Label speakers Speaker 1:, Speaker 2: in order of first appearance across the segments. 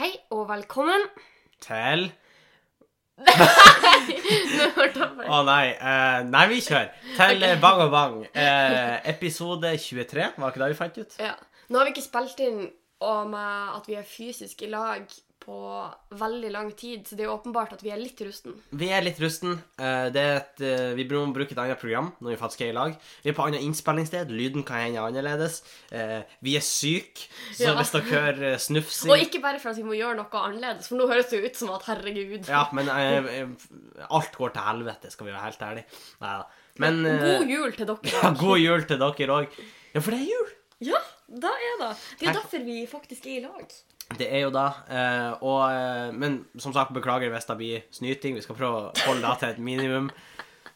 Speaker 1: Hei og velkommen.
Speaker 2: til
Speaker 1: Nå hørte jeg
Speaker 2: Å
Speaker 1: bare-
Speaker 2: nei, eh, nei, vi kjører. Til eh, Bang og Bang. Eh, episode 23, var ikke det vi fant ut?
Speaker 1: Ja. Nå har vi ikke spilt inn om eh, at vi er fysisk i lag på veldig lang tid, så det er jo åpenbart at vi er litt rusten.
Speaker 2: Vi er litt rusten. Eh, det er et, eh, vi må bruke et annet program når vi faktisk er i lag. Vi er på annet innspillingssted. Lyden kan hende er annerledes. Eh, vi er syke, så
Speaker 1: Ja.
Speaker 2: hvis dere hører eh,
Speaker 1: Og
Speaker 2: snufsing
Speaker 1: ikke bare for at vi må gjøre noe annerledes, for nå høres det jo ut som at herregud.
Speaker 2: Ja, men eh, eh, alt går til helvete, skal vi være helt ærlige. Neida. Men eh,
Speaker 1: God jul til dere.
Speaker 2: ja, god jul til dere òg. Ja, for det er jul.
Speaker 1: Ja, da er det. Det er
Speaker 2: Takk.
Speaker 1: derfor vi faktisk er i lag.
Speaker 2: Det er jo da, eh, og, eh, men som sagt, beklager hvis det blir snyting. Vi skal prøve å holde det til et minimum,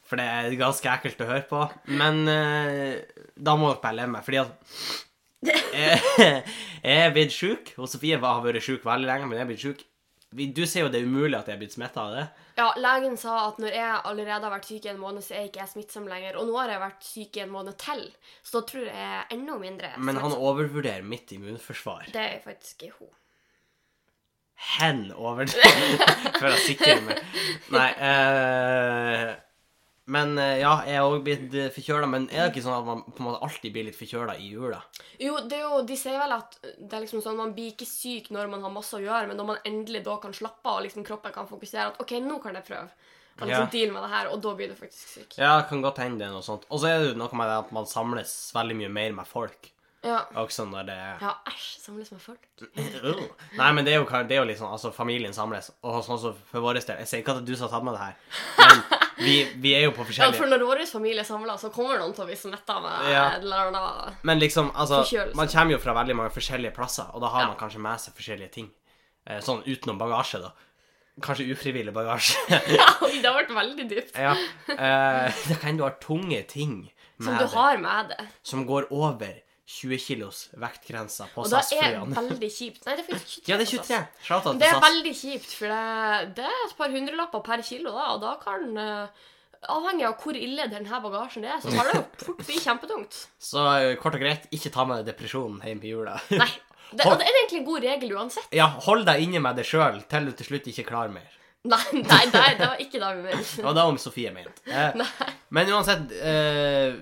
Speaker 2: for det er ganske ekkelt å høre på. Men eh, da må dere bare leve med, fordi at jeg, jeg er blitt sjuk. Og Sofie var- har vært sjuk veldig lenge, men jeg er blitt sjuk. Vi- Du ser jo det er umulig at jeg er blitt smitta av det.
Speaker 1: Ja, legen sa at når jeg allerede har vært syk i en måned, så er ikke jeg smittsom lenger. Og nå har jeg vært syk i en måned til, så da tror jeg jeg er enda mindre.
Speaker 2: Men han
Speaker 1: smittsom.
Speaker 2: overvurderer mitt immunforsvar.
Speaker 1: Det er faktisk hun.
Speaker 2: Hen over For å sikre meg. Nei eh, Men eh, ja, jeg er òg blitt eh, forkjøla. Men er det ikke sånn at man på en måte alltid blir litt forkjøla i jula?
Speaker 1: Jo, det er jo, de sier vel at det er liksom sånn, man blir ikke syk når man har masse å gjøre, men når man endelig da kan slappe av og liksom kroppen kan fokusere at OK, nå kan jeg prøve. Kan liksom
Speaker 2: Ja.
Speaker 1: deale med det her, og da blir du faktisk syk.
Speaker 2: Ja, kan godt hende det er noe sånt. Og så er det jo noe med det at man samles veldig mye mer med folk.
Speaker 1: Ja.
Speaker 2: Også når det er
Speaker 1: Ja, æsj. Samles med folk.
Speaker 2: Ugh. Nei, men det er jo, kan- det er jo litt sånn Altså, familien samles. Og sånn som for vår del Jeg sier ikke at du skal ta med det her, men vi, vi er jo
Speaker 1: Ja,
Speaker 2: på
Speaker 1: for
Speaker 2: forskjellige
Speaker 1: når vår familie samler, så kommer noen til å bli smitta med
Speaker 2: Ja.
Speaker 1: et eller annet.
Speaker 2: Men liksom, altså
Speaker 1: Forkjølelse.
Speaker 2: Man kommer jo fra veldig mange forskjellige plasser, og da har
Speaker 1: Ja.
Speaker 2: man kanskje med seg forskjellige ting. Eh, Sånn utenom bagasje, da. Kanskje ufrivillig bagasje.
Speaker 1: Oi, det har vært veldig dypt.
Speaker 2: ja. Eh, det kan du ha tunge ting
Speaker 1: Som
Speaker 2: med
Speaker 1: du
Speaker 2: deg
Speaker 1: har med det.
Speaker 2: som går over 20 kilos vektgrensa på
Speaker 1: Og det er
Speaker 2: SAS-flyene.
Speaker 1: veldig kjipt. Nei, det er faktisk 23.
Speaker 2: Ja, det er 23. Shout out
Speaker 1: Det
Speaker 2: til
Speaker 1: er
Speaker 2: SAS.
Speaker 1: veldig kjipt, for det, det er et par hundrelapper per kilo, da, og da kan eh, Avhengig av hvor ille denne bagasjen er, så har det jo fort bli kjempetungt.
Speaker 2: Så eh, kort og greit, ikke ta med deg depresjonen hjem på jula.
Speaker 1: Nei. Det, og det er egentlig en god regel uansett.
Speaker 2: ja, hold deg inne med det sjøl til du til slutt ikke klarer mer.
Speaker 1: Nei, nei, nei det var ikke det vi mente.
Speaker 2: Det var det om Sofie mente. Eh,
Speaker 1: Nei.
Speaker 2: Men uansett, eh,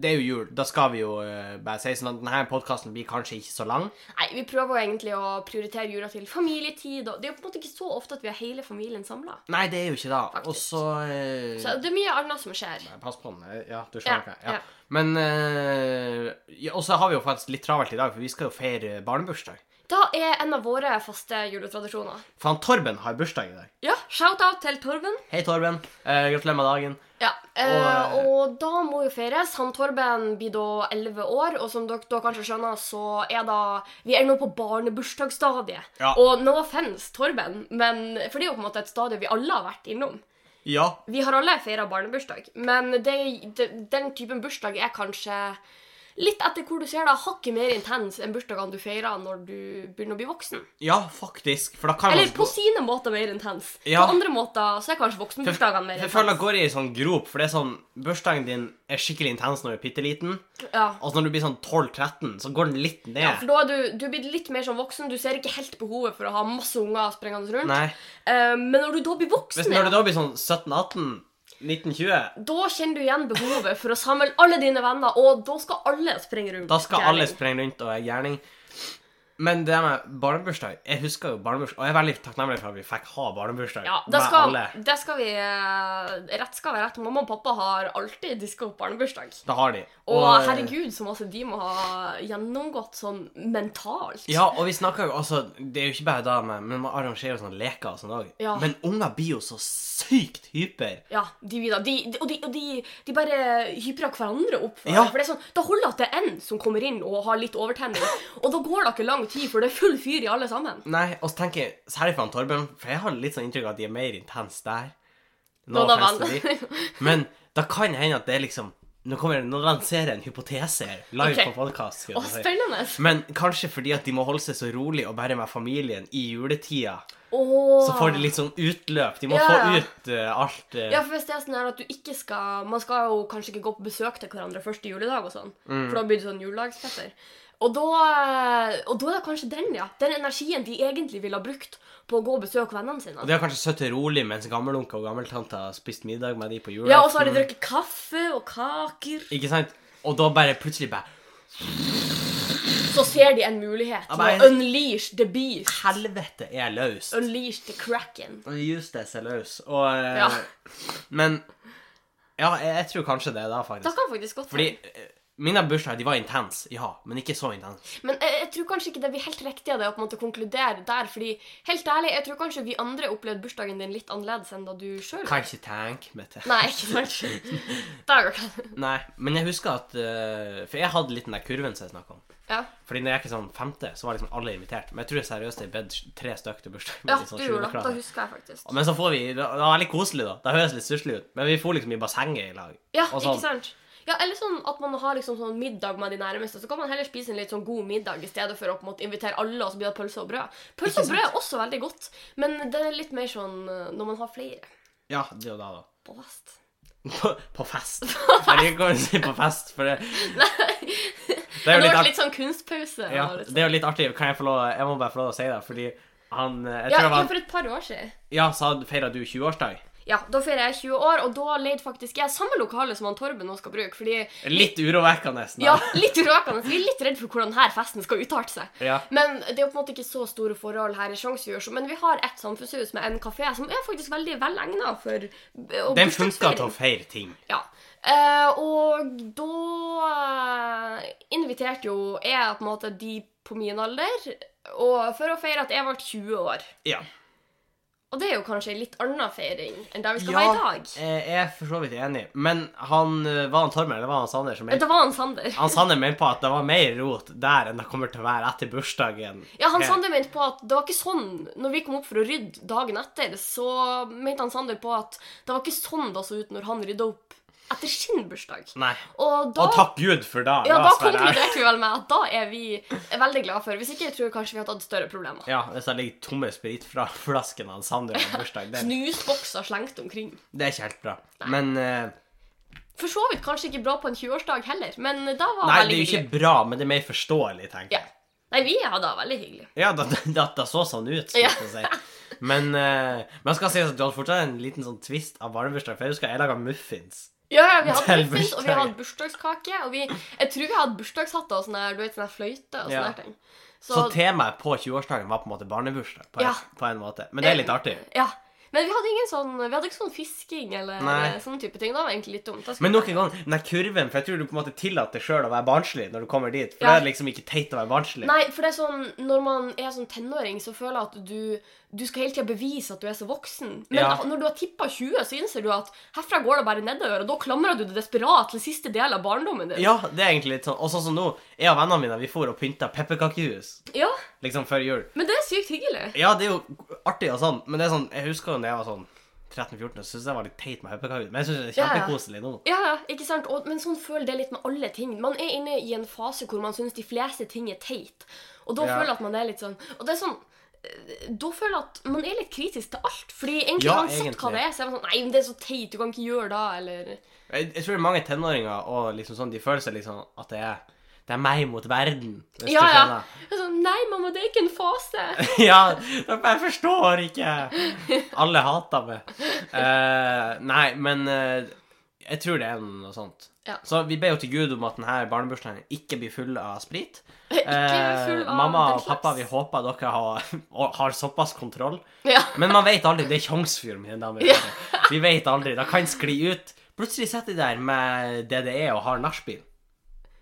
Speaker 2: det er jo jul. Da skal vi jo eh, bare si sånn at denne podkasten blir kanskje ikke så lang.
Speaker 1: nei, vi prøver jo egentlig å prioritere jula til familietid, og det er jo på en måte ikke så ofte at vi har hele familien samla.
Speaker 2: Nei, det er jo ikke det.
Speaker 1: Faktisk.
Speaker 2: Og så eh,
Speaker 1: Så det er mye annet som skjer.
Speaker 2: Nei, Pass på den. eh, Ja, du skjønner
Speaker 1: Ja,
Speaker 2: hva. Ja.
Speaker 1: ja.
Speaker 2: Men eh, ja, Og så har vi jo faktisk litt travelt i dag, for vi skal jo feire barnebursdag.
Speaker 1: Da er en av våre faste juletradisjoner.
Speaker 2: For han Torben har bursdag i dag.
Speaker 1: Ja, shout-out til Torben.
Speaker 2: Hei, Torben. Eh, gratulerer med dagen.
Speaker 1: Ja, eh,
Speaker 2: Og,
Speaker 1: og da må jo feires. Han Torben blir da 11 år, og som dere da kanskje skjønner, så er da Vi er nå på barnebursdagsstadiet.
Speaker 2: Ja.
Speaker 1: Og no offense, Torben, men for det er jo på en måte et stadie vi alle har vært innom.
Speaker 2: Ja.
Speaker 1: Vi har alle feira barnebursdag, men det, det, den typen bursdag er kanskje Litt etter hvor du ser det, hakket mer intens enn bursdagene du feirer når du begynner å bli voksen.
Speaker 2: Ja, faktisk. For da kan
Speaker 1: Eller
Speaker 2: man
Speaker 1: på sine måter mer intens.
Speaker 2: Ja.
Speaker 1: På andre måter så er kanskje
Speaker 2: For-
Speaker 1: voksenbursdagene mer
Speaker 2: for Jeg føler
Speaker 1: intense.
Speaker 2: det går i en sånn grop, for det er sånn Bursdagen din er skikkelig intens når du er bitte liten,
Speaker 1: Ja.
Speaker 2: og så når du blir sånn 12-13, så går den litt ned.
Speaker 1: Ja, for da er du, du er blitt litt mer sånn voksen. Du ser ikke helt behovet for å ha masse unger sprengende rundt.
Speaker 2: Nei.
Speaker 1: Eh, men når du da blir voksen,
Speaker 2: Hvis når du
Speaker 1: igjen,
Speaker 2: da blir sånn 17-18 19-20,
Speaker 1: da kjenner du igjen behovet for å samle alle dine venner, og da skal alle springe rundt.
Speaker 2: da skal
Speaker 1: Gjerning.
Speaker 2: alle sprenge rundt og er gjerning. Men det med barnebursdag Jeg husker jo barnebursdag, og jeg er veldig takknemlig for at vi fikk ha barnebursdag
Speaker 1: ja, det
Speaker 2: med
Speaker 1: skal,
Speaker 2: alle.
Speaker 1: det skal vi eh, Rett skal være rett. Mamma og pappa har alltid diska opp barnebursdag.
Speaker 2: Det har de. eh,
Speaker 1: Og herregud, så masse de må ha gjennomgått sånn mentalt.
Speaker 2: Ja, og vi snakker jo altså Det er jo ikke bare det, men men man arrangerer jo sånne leker og sånn òg.
Speaker 1: Ja.
Speaker 2: Men unger blir jo så sykt hyper.
Speaker 1: Ja, de vil da. De, de, og de, og de, de bare hyper hverandre opp. For,
Speaker 2: Ja.
Speaker 1: for det er sånn, Da holder det at det er én som kommer inn og har litt overtenning. Og da går det ikke lang tid, for det er full fyr i alle sammen.
Speaker 2: Nei, og så tenker jeg særlig for han Torben, for jeg har litt sånn inntrykk av at de er mer intense der.
Speaker 1: Nå
Speaker 2: Nå
Speaker 1: da
Speaker 2: fester
Speaker 1: vann.
Speaker 2: de. Men da kan det hende at det er liksom Nå kommer jeg, nå lanserer jeg en hypotese her, live
Speaker 1: Ok.
Speaker 2: på podkast.
Speaker 1: Å, spennende!
Speaker 2: Men kanskje fordi at de må holde seg så rolig og bare med familien i juletida,
Speaker 1: Åh.
Speaker 2: så får de litt sånn utløp. De må
Speaker 1: Ja, ja.
Speaker 2: få ut eh, alt eh,
Speaker 1: Ja, for hvis det er sånn her at du ikke
Speaker 2: Mm.
Speaker 1: skal Man skal jo kanskje ikke gå på besøk til hverandre første juledag og sånn, for da blir det sånn juledagsfetter. Og da, og da er det kanskje den, ja. Den energien de egentlig ville ha brukt på å gå og besøke vennene sine.
Speaker 2: Og de har kanskje sittet rolig mens gammelonkel og gammeltante har spist middag med de på julaften.
Speaker 1: Ja, og så har de drukket kaffe og kaker.
Speaker 2: Ikke sant? Og da bare plutselig bare
Speaker 1: Så ser de en mulighet til
Speaker 2: men-
Speaker 1: å unleash the beast.
Speaker 2: Helvete er løs.
Speaker 1: Unleash the kraken.
Speaker 2: Justes er løs. Og eh,
Speaker 1: Ja.
Speaker 2: Men Ja, jeg, jeg tror kanskje det, da, faktisk.
Speaker 1: Det kan faktisk godt
Speaker 2: Fordi
Speaker 1: være.
Speaker 2: eh, mine bursdager de var intense, ja, men ikke så intense.
Speaker 1: Men jeg, jeg tror kanskje ikke det blir helt riktig av deg å på en måte konkludere der. fordi, helt ærlig, jeg tror kanskje vi andre opplevde bursdagen din litt annerledes enn da du sjøl
Speaker 2: Kan ikke tenke meg til.
Speaker 1: Nei, ikke sant? Da går det.
Speaker 2: Nei, men jeg husker at eh, For jeg hadde litt den der kurven som jeg snakka om.
Speaker 1: Ja.
Speaker 2: Fordi når jeg gikk i sånn femte, så var liksom alle invitert. Men jeg tror seriøst jeg bedt tre stykk til bursdagen. min
Speaker 1: ja,
Speaker 2: i sånn
Speaker 1: du gjorde det.
Speaker 2: sjuendeklasse.
Speaker 1: Da husker jeg faktisk.
Speaker 2: Men så får vi Det var veldig koselig, da. Det høres litt stusslig ut. Men vi for liksom i bassenget i lag.
Speaker 1: Ja,
Speaker 2: og
Speaker 1: ikke sant? Ja, Eller sånn at man har liksom sånn middag med de nærmeste. Så kan man heller spise en litt sånn god middag i stedet for å på en måte invitere alle, og så blir det pølse og brød. Pølse og brød er også veldig godt, men det er litt mer sånn eh, når man har flere
Speaker 2: Ja, det og da, da.
Speaker 1: på fest.
Speaker 2: På, på fest. Jeg liker ikke å si på fest, for det Det
Speaker 1: Det
Speaker 2: er jo
Speaker 1: har
Speaker 2: litt
Speaker 1: vært
Speaker 2: artig.
Speaker 1: litt sånn kunstpause.
Speaker 2: Ja,
Speaker 1: og litt sånn.
Speaker 2: det er jo litt artig. Kan jeg få lov Jeg må bare få lov å si det, fordi han eh, Jeg
Speaker 1: Ja,
Speaker 2: tror det
Speaker 1: ja,
Speaker 2: var
Speaker 1: for et par år siden.
Speaker 2: Ja, sa feira du 20-årsdag?
Speaker 1: Ja, Da feirer jeg 20 år, og da leide faktisk jeg samme lokale som han Torben nå skal bruke. fordi
Speaker 2: Litt urovekkende. da.
Speaker 1: Ja, litt røkende. Vi er litt redd for hvordan denne festen skal utarte seg.
Speaker 2: Ja.
Speaker 1: Men det er jo på en måte ikke så store forhold her i Sjongsfjord. så- Men vi har et samfunnshus med en kafé som er faktisk veldig velegna for å
Speaker 2: Den funka til å feire ting.
Speaker 1: Ja. Eh, og da eh, inviterte jo jeg på en måte de på min alder og for å feire at jeg ble 20 år.
Speaker 2: Ja.
Speaker 1: Og det er jo kanskje en litt annen feiring enn det vi skal
Speaker 2: Ja,
Speaker 1: ha i dag.
Speaker 2: eh, jeg er for så vidt enig, men han eh, var han Tormer eller var han Sander som mente
Speaker 1: Det var han Sander.
Speaker 2: Han Sander mente på at det var mer rot der enn det kommer til å være etter bursdagen.
Speaker 1: Ja, han
Speaker 2: Eh,
Speaker 1: Sander mente på at det var ikke sånn Når vi kom opp for å rydde dagen etter, så mente han Sander på at det var ikke sånn det så ut når han rydda opp etter sin bursdag.
Speaker 2: Nei.
Speaker 1: Og da,
Speaker 2: Og takk Gud for da.
Speaker 1: ja, da
Speaker 2: la oss være ærlige.
Speaker 1: konkluderte vi vel med at da er vi veldig glad for. Hvis ikke jeg tror jeg kanskje vi hadde hatt større problemer.
Speaker 2: Ja, hvis det ligger tomme spritflasken av Sander på bursdag, det,
Speaker 1: Snusbokser slengt omkring.
Speaker 2: det er ikke helt bra. Men eh,
Speaker 1: For så vidt kanskje ikke bra på en 20-årsdag heller, men da var
Speaker 2: Nei, det
Speaker 1: veldig
Speaker 2: er jo
Speaker 1: hyggelig.
Speaker 2: ikke bra, men det er mer forståelig, tenker
Speaker 1: Ja.
Speaker 2: jeg.
Speaker 1: Nei, vi hadde det veldig hyggelig.
Speaker 2: Ja, det, det, det, det så sånn ut, skulle
Speaker 1: Ja.
Speaker 2: jeg si. Men eh, men jeg skal si at du hadde fortsatt en liten sånn twist av barnebursdag, for jeg husker jeg laga muffins.
Speaker 1: Ja, ja, vi hadde
Speaker 2: Til
Speaker 1: muffins, og vi
Speaker 2: bursdagen.
Speaker 1: hadde bursdagskake. Og vi, jeg tror vi hadde bursdagshatter og sånn der, du vet, sånn der fløyte og sånne
Speaker 2: Ja.
Speaker 1: der ting.
Speaker 2: Så, temaet på 20-årsdagen var på en måte barnebursdag, på,
Speaker 1: Ja.
Speaker 2: en, på en måte. Men det er litt artig.
Speaker 1: Ja. Men vi hadde, ingen sånn, vi hadde ikke sånn fisking eller
Speaker 2: Nei.
Speaker 1: sånne type ting. Det var egentlig litt dumt. Da skulle-
Speaker 2: Men nok en gang, den der kurven, for jeg tror du på en måte tillater deg sjøl å være barnslig når du kommer dit. For
Speaker 1: Ja.
Speaker 2: det er liksom ikke teit å være barnslig.
Speaker 1: Nei, for det er sånn, Når man er sånn tenåring, så føler jeg at du, du skal hele tida bevise at du er så voksen. Men
Speaker 2: Ja.
Speaker 1: når du har tippa 20, så innser du at herfra går det bare nedover. Og da klamrer du deg desperat til siste del av barndommen din.
Speaker 2: Ja, det er egentlig litt sånn. Og sånn som nå, jeg og vennene mine, vi for og pynta pepperkakehus
Speaker 1: Ja,
Speaker 2: liksom før jul.
Speaker 1: Men det er sykt hyggelig.
Speaker 2: Ja, det er jo artig og sånn, men det er sånn, jeg husker jo da jeg var sånn 13-14, så syntes jeg det var litt teit med pepperkakehus, men jeg syns det er
Speaker 1: Ja, ja.
Speaker 2: kjempekoselig nå.
Speaker 1: Ja, ja, ikke sant? Og, men sånn føler det litt med alle ting. Man er inne i en fase hvor man syns de fleste ting er teit. Og da
Speaker 2: Ja.
Speaker 1: føler jeg at man er litt sånn Og det er sånn eh, da føler jeg at man er litt kritisk til alt. Fordi egentlig
Speaker 2: Ja,
Speaker 1: uansett hva
Speaker 2: egentlig.
Speaker 1: det er, så er man sånn Nei, men det er så teit, du kan ikke gjøre det, eller
Speaker 2: Jeg, jeg tror det er mange tenåringer og liksom sånn, de føler seg liksom at det er det er meg mot verden, hvis
Speaker 1: Ja,
Speaker 2: du
Speaker 1: ja.
Speaker 2: skjønner.
Speaker 1: Det er Sånn, nei, mamma, det er ikke en fase.
Speaker 2: ja, jeg forstår ikke! Alle hater meg. Eh, nei, men eh, jeg tror det er noe sånt.
Speaker 1: Ja.
Speaker 2: Så vi ber jo til Gud om at denne barnebursdagen ikke blir full av sprit. Eh,
Speaker 1: Ikke full av
Speaker 2: mamma
Speaker 1: den
Speaker 2: og pappa,
Speaker 1: slags.
Speaker 2: vi håper dere har, har såpass kontroll.
Speaker 1: Ja.
Speaker 2: Men man vet aldri. Det er kjangsfyr, mine damer og herrer. Vi vet aldri. Det kan skli ut. Plutselig sitter de der med DDE og har nachspiel.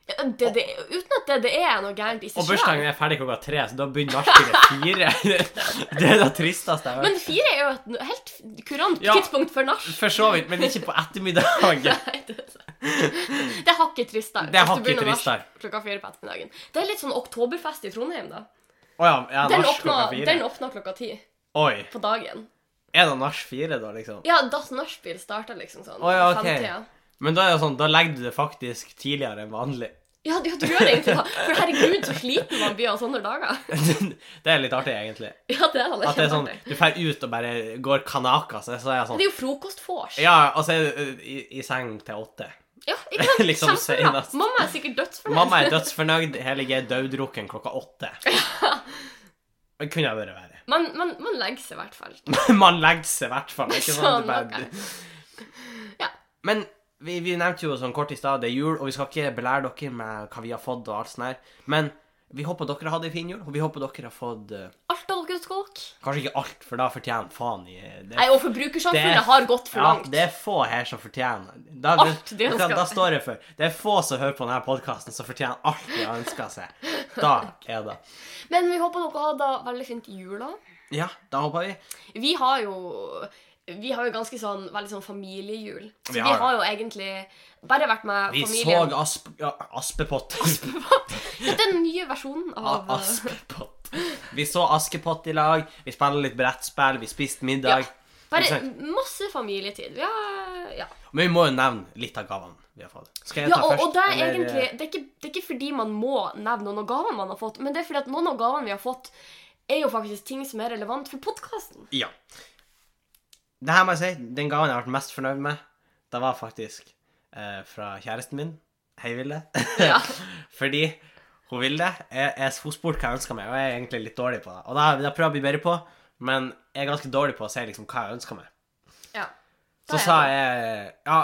Speaker 1: Ja, Det, det, uten at det, det er noe gærent i
Speaker 2: Og
Speaker 1: seg
Speaker 2: bursdagen
Speaker 1: selv.
Speaker 2: er ferdig klokka tre, så da begynner nachspielet fire. Det er det tristeste jeg har hørt.
Speaker 1: Men fire er jo et n- helt kurant
Speaker 2: Ja.
Speaker 1: tidspunkt for nach.
Speaker 2: For så vidt, men ikke på ettermiddagen.
Speaker 1: Nei, det er sant. Det er hakket tristere.
Speaker 2: Det
Speaker 1: hvis
Speaker 2: er
Speaker 1: du
Speaker 2: hakket
Speaker 1: begynner å nach
Speaker 2: tristere.
Speaker 1: Klokka fire på ettermiddagen. Det er litt sånn oktoberfest i Trondheim, da.
Speaker 2: Å ja, ja
Speaker 1: Den
Speaker 2: nach
Speaker 1: åpna,
Speaker 2: klokka
Speaker 1: den
Speaker 2: fire.
Speaker 1: åpna klokka ti
Speaker 2: Oi.
Speaker 1: på dagen.
Speaker 2: Er det nach fire, da, liksom?
Speaker 1: Ja, Das Nachspiel starta liksom sånn.
Speaker 2: Å ja, ok.
Speaker 1: femtida.
Speaker 2: Men da er det sånn, da legger du det faktisk tidligere enn vanlig.
Speaker 1: Ja, ja, du gjør egentlig det. For herregud, så sliten man blir av sånne dager.
Speaker 2: Det er litt artig, egentlig.
Speaker 1: Ja, det er det.
Speaker 2: At det er sånn,
Speaker 1: kjempeartig.
Speaker 2: du drar ut og bare går kanaka, så så er jeg sånn
Speaker 1: Det er jo frokostvors.
Speaker 2: Ja, og så er du i, i eh, seng til åtte.
Speaker 1: Ja, ikke sant?
Speaker 2: Liksom
Speaker 1: Kjempebra.
Speaker 2: senest.
Speaker 1: Mamma er sikkert dødsfornøyd.
Speaker 2: Mamma er dødsfornøyd. Helge er døddrukken klokka åtte. Det kunne ha vært verre.
Speaker 1: Man, man, man legger seg i hvert fall.
Speaker 2: Man legger seg i hvert fall. Ikke
Speaker 1: Sånn,
Speaker 2: sånn, at
Speaker 1: ok.
Speaker 2: det bare...
Speaker 1: Ja.
Speaker 2: Men vi, vi nevnte jo sånn kort i stad, det er jul, og vi skal ikke belære dere med hva vi har fått og alt sånt her. Men vi håper dere har hatt en fin jul, og vi håper dere har fått eh,
Speaker 1: Alt av dere skolk.
Speaker 2: Kanskje ikke alt, for da fortjener faen i det.
Speaker 1: Nei, og
Speaker 2: Det-
Speaker 1: forbrukersamfunnet har gått for
Speaker 2: Ja,
Speaker 1: langt.
Speaker 2: det er få her som fortjener da,
Speaker 1: Alt de
Speaker 2: da-
Speaker 1: ønsker.
Speaker 2: Da står jeg for. Det er få som hører på denne podkasten, som fortjener alt de ønsker seg. Da er det
Speaker 1: Men vi håper dere har det veldig fint i jula.
Speaker 2: Ja, da håper vi.
Speaker 1: Vi har jo vi har jo ganske sånn, veldig sånn familiejul. Så
Speaker 2: Vi
Speaker 1: vi
Speaker 2: har
Speaker 1: har,
Speaker 2: det.
Speaker 1: jo egentlig bare vært med
Speaker 2: Vi
Speaker 1: familien.
Speaker 2: så asp, ja, Aspepott.
Speaker 1: Den nye versjonen
Speaker 2: A-
Speaker 1: av
Speaker 2: Aspepott. Vi så Askepott i lag, vi spilte litt brettspill, vi spiste middag. Ikke
Speaker 1: Bare
Speaker 2: sant?
Speaker 1: masse familietid. Vi har, ja.
Speaker 2: Men vi må jo nevne litt av gavene vi har fått. Skal jeg
Speaker 1: Ja,
Speaker 2: ta
Speaker 1: og,
Speaker 2: først?
Speaker 1: og det er
Speaker 2: eller, eh,
Speaker 1: egentlig det er, ikke, det er ikke fordi man må nevne noen av gavene man har fått, men det er fordi at noen av gavene vi har fått, er jo faktisk ting som er relevant for podkasten.
Speaker 2: Ja. Det her må jeg si, den gaven jeg har vært mest fornøyd med, det var faktisk eh, fra kjæresten min. Hei, Vilde.
Speaker 1: Ja.
Speaker 2: Fordi hun Vilde er, er spurt hva jeg ønsker meg, og jeg er egentlig litt dårlig på det. Og det har det har jeg prøvd å bli bedre på, men jeg er ganske dårlig på å si liksom hva jeg ønsker meg.
Speaker 1: Ja.
Speaker 2: Så sa jeg ja,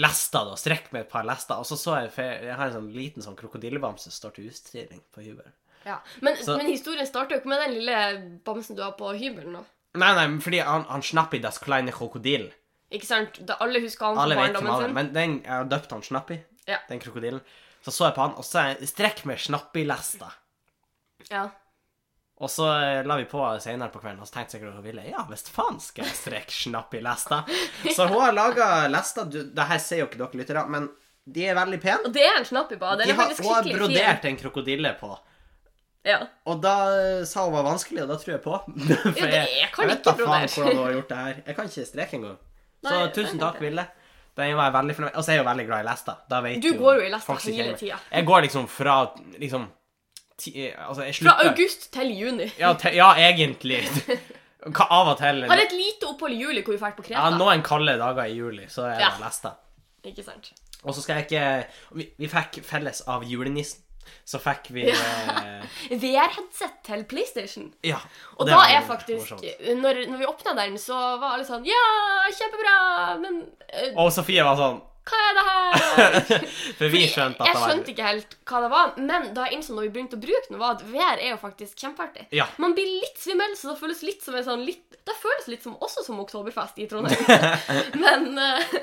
Speaker 2: lester, da. Strekk med et par lester. Og så så jeg for jeg har en sånn liten sånn krokodillebamse som står til utstilling på hybelen.
Speaker 1: ja. men,
Speaker 2: Så-
Speaker 1: men historien starter jo ikke med den lille bamsen du har på hybelen nå.
Speaker 2: Nei, nei, men fordi han, han snapper i das kleine krokodillen.
Speaker 1: Ikke sant? Da alle husker han
Speaker 2: Alle
Speaker 1: fra
Speaker 2: vet hvem
Speaker 1: barndommen
Speaker 2: han er,
Speaker 1: sin.
Speaker 2: men den, jeg har døpt han Snappy,
Speaker 1: Ja.
Speaker 2: den krokodillen. Så så jeg på han, og så sa jeg, strekk med Snappy-lesta.
Speaker 1: Ja.
Speaker 2: Og så eh, la vi på senere på kvelden, og så tenkte jeg sikkert hun ville, ja, hvis faen skal jeg strekke Snappy-lesta. Så hun har laget lesta, du, det her ser jo ikke dere lyttere, men de er veldig pene.
Speaker 1: Og det er en snapp i badet.
Speaker 2: De
Speaker 1: Den er
Speaker 2: har,
Speaker 1: faktisk
Speaker 2: hun har
Speaker 1: skikkelig fin.
Speaker 2: brodert en krokodille på.
Speaker 1: Ja.
Speaker 2: Og da eh, sa hun var vanskelig, og da tror jeg på. For
Speaker 1: Ja, det- jeg kan
Speaker 2: jeg vet
Speaker 1: ikke
Speaker 2: da faen
Speaker 1: brodere.
Speaker 2: hvordan hun har gjort det her. Jeg kan ikke streke engang. Så
Speaker 1: Nei, det er
Speaker 2: tusen takk,
Speaker 1: sant det.
Speaker 2: Ville. Den var jeg veldig fornøyd med. Og så er jeg jo veldig glad i lesta. Da vet
Speaker 1: Du
Speaker 2: jo
Speaker 1: går jo i lesta
Speaker 2: folk som
Speaker 1: hele
Speaker 2: kjenner meg.
Speaker 1: tida.
Speaker 2: Jeg går liksom fra liksom ti, Altså, jeg
Speaker 1: Fra
Speaker 2: slutter
Speaker 1: august til juni.
Speaker 2: Ja, te, ja egentlig. Hva av og til.
Speaker 1: Har et lite opphold i juli hvor vi drar på
Speaker 2: Ja,
Speaker 1: Kreta.
Speaker 2: noen kalde dager i juli, så er det
Speaker 1: Ja.
Speaker 2: lesta.
Speaker 1: Ikke sant?
Speaker 2: Og så skal jeg ikke vi, vi fikk felles av julenissen. Så fikk vi
Speaker 1: Ja.
Speaker 2: eh,
Speaker 1: VR-headset til PlayStation.
Speaker 2: Ja.
Speaker 1: Og
Speaker 2: det
Speaker 1: da
Speaker 2: var
Speaker 1: er
Speaker 2: jo
Speaker 1: faktisk
Speaker 2: morsomt.
Speaker 1: når, når vi åpna den, så var alle sånn Ja, kjempebra, men eh,
Speaker 2: Og Sofie var sånn
Speaker 1: hva er det her?
Speaker 2: For vi skjønte at
Speaker 1: jeg
Speaker 2: det var
Speaker 1: skjønte ikke helt hva det var, men da jeg innså når vi begynte å bruke den, var at VR er jo faktisk kjempeartig.
Speaker 2: Ja.
Speaker 1: Man blir litt svimmel, så det føles litt som en sånn litt Det føles litt som også som oktoberfest i Trondheim. men, eh,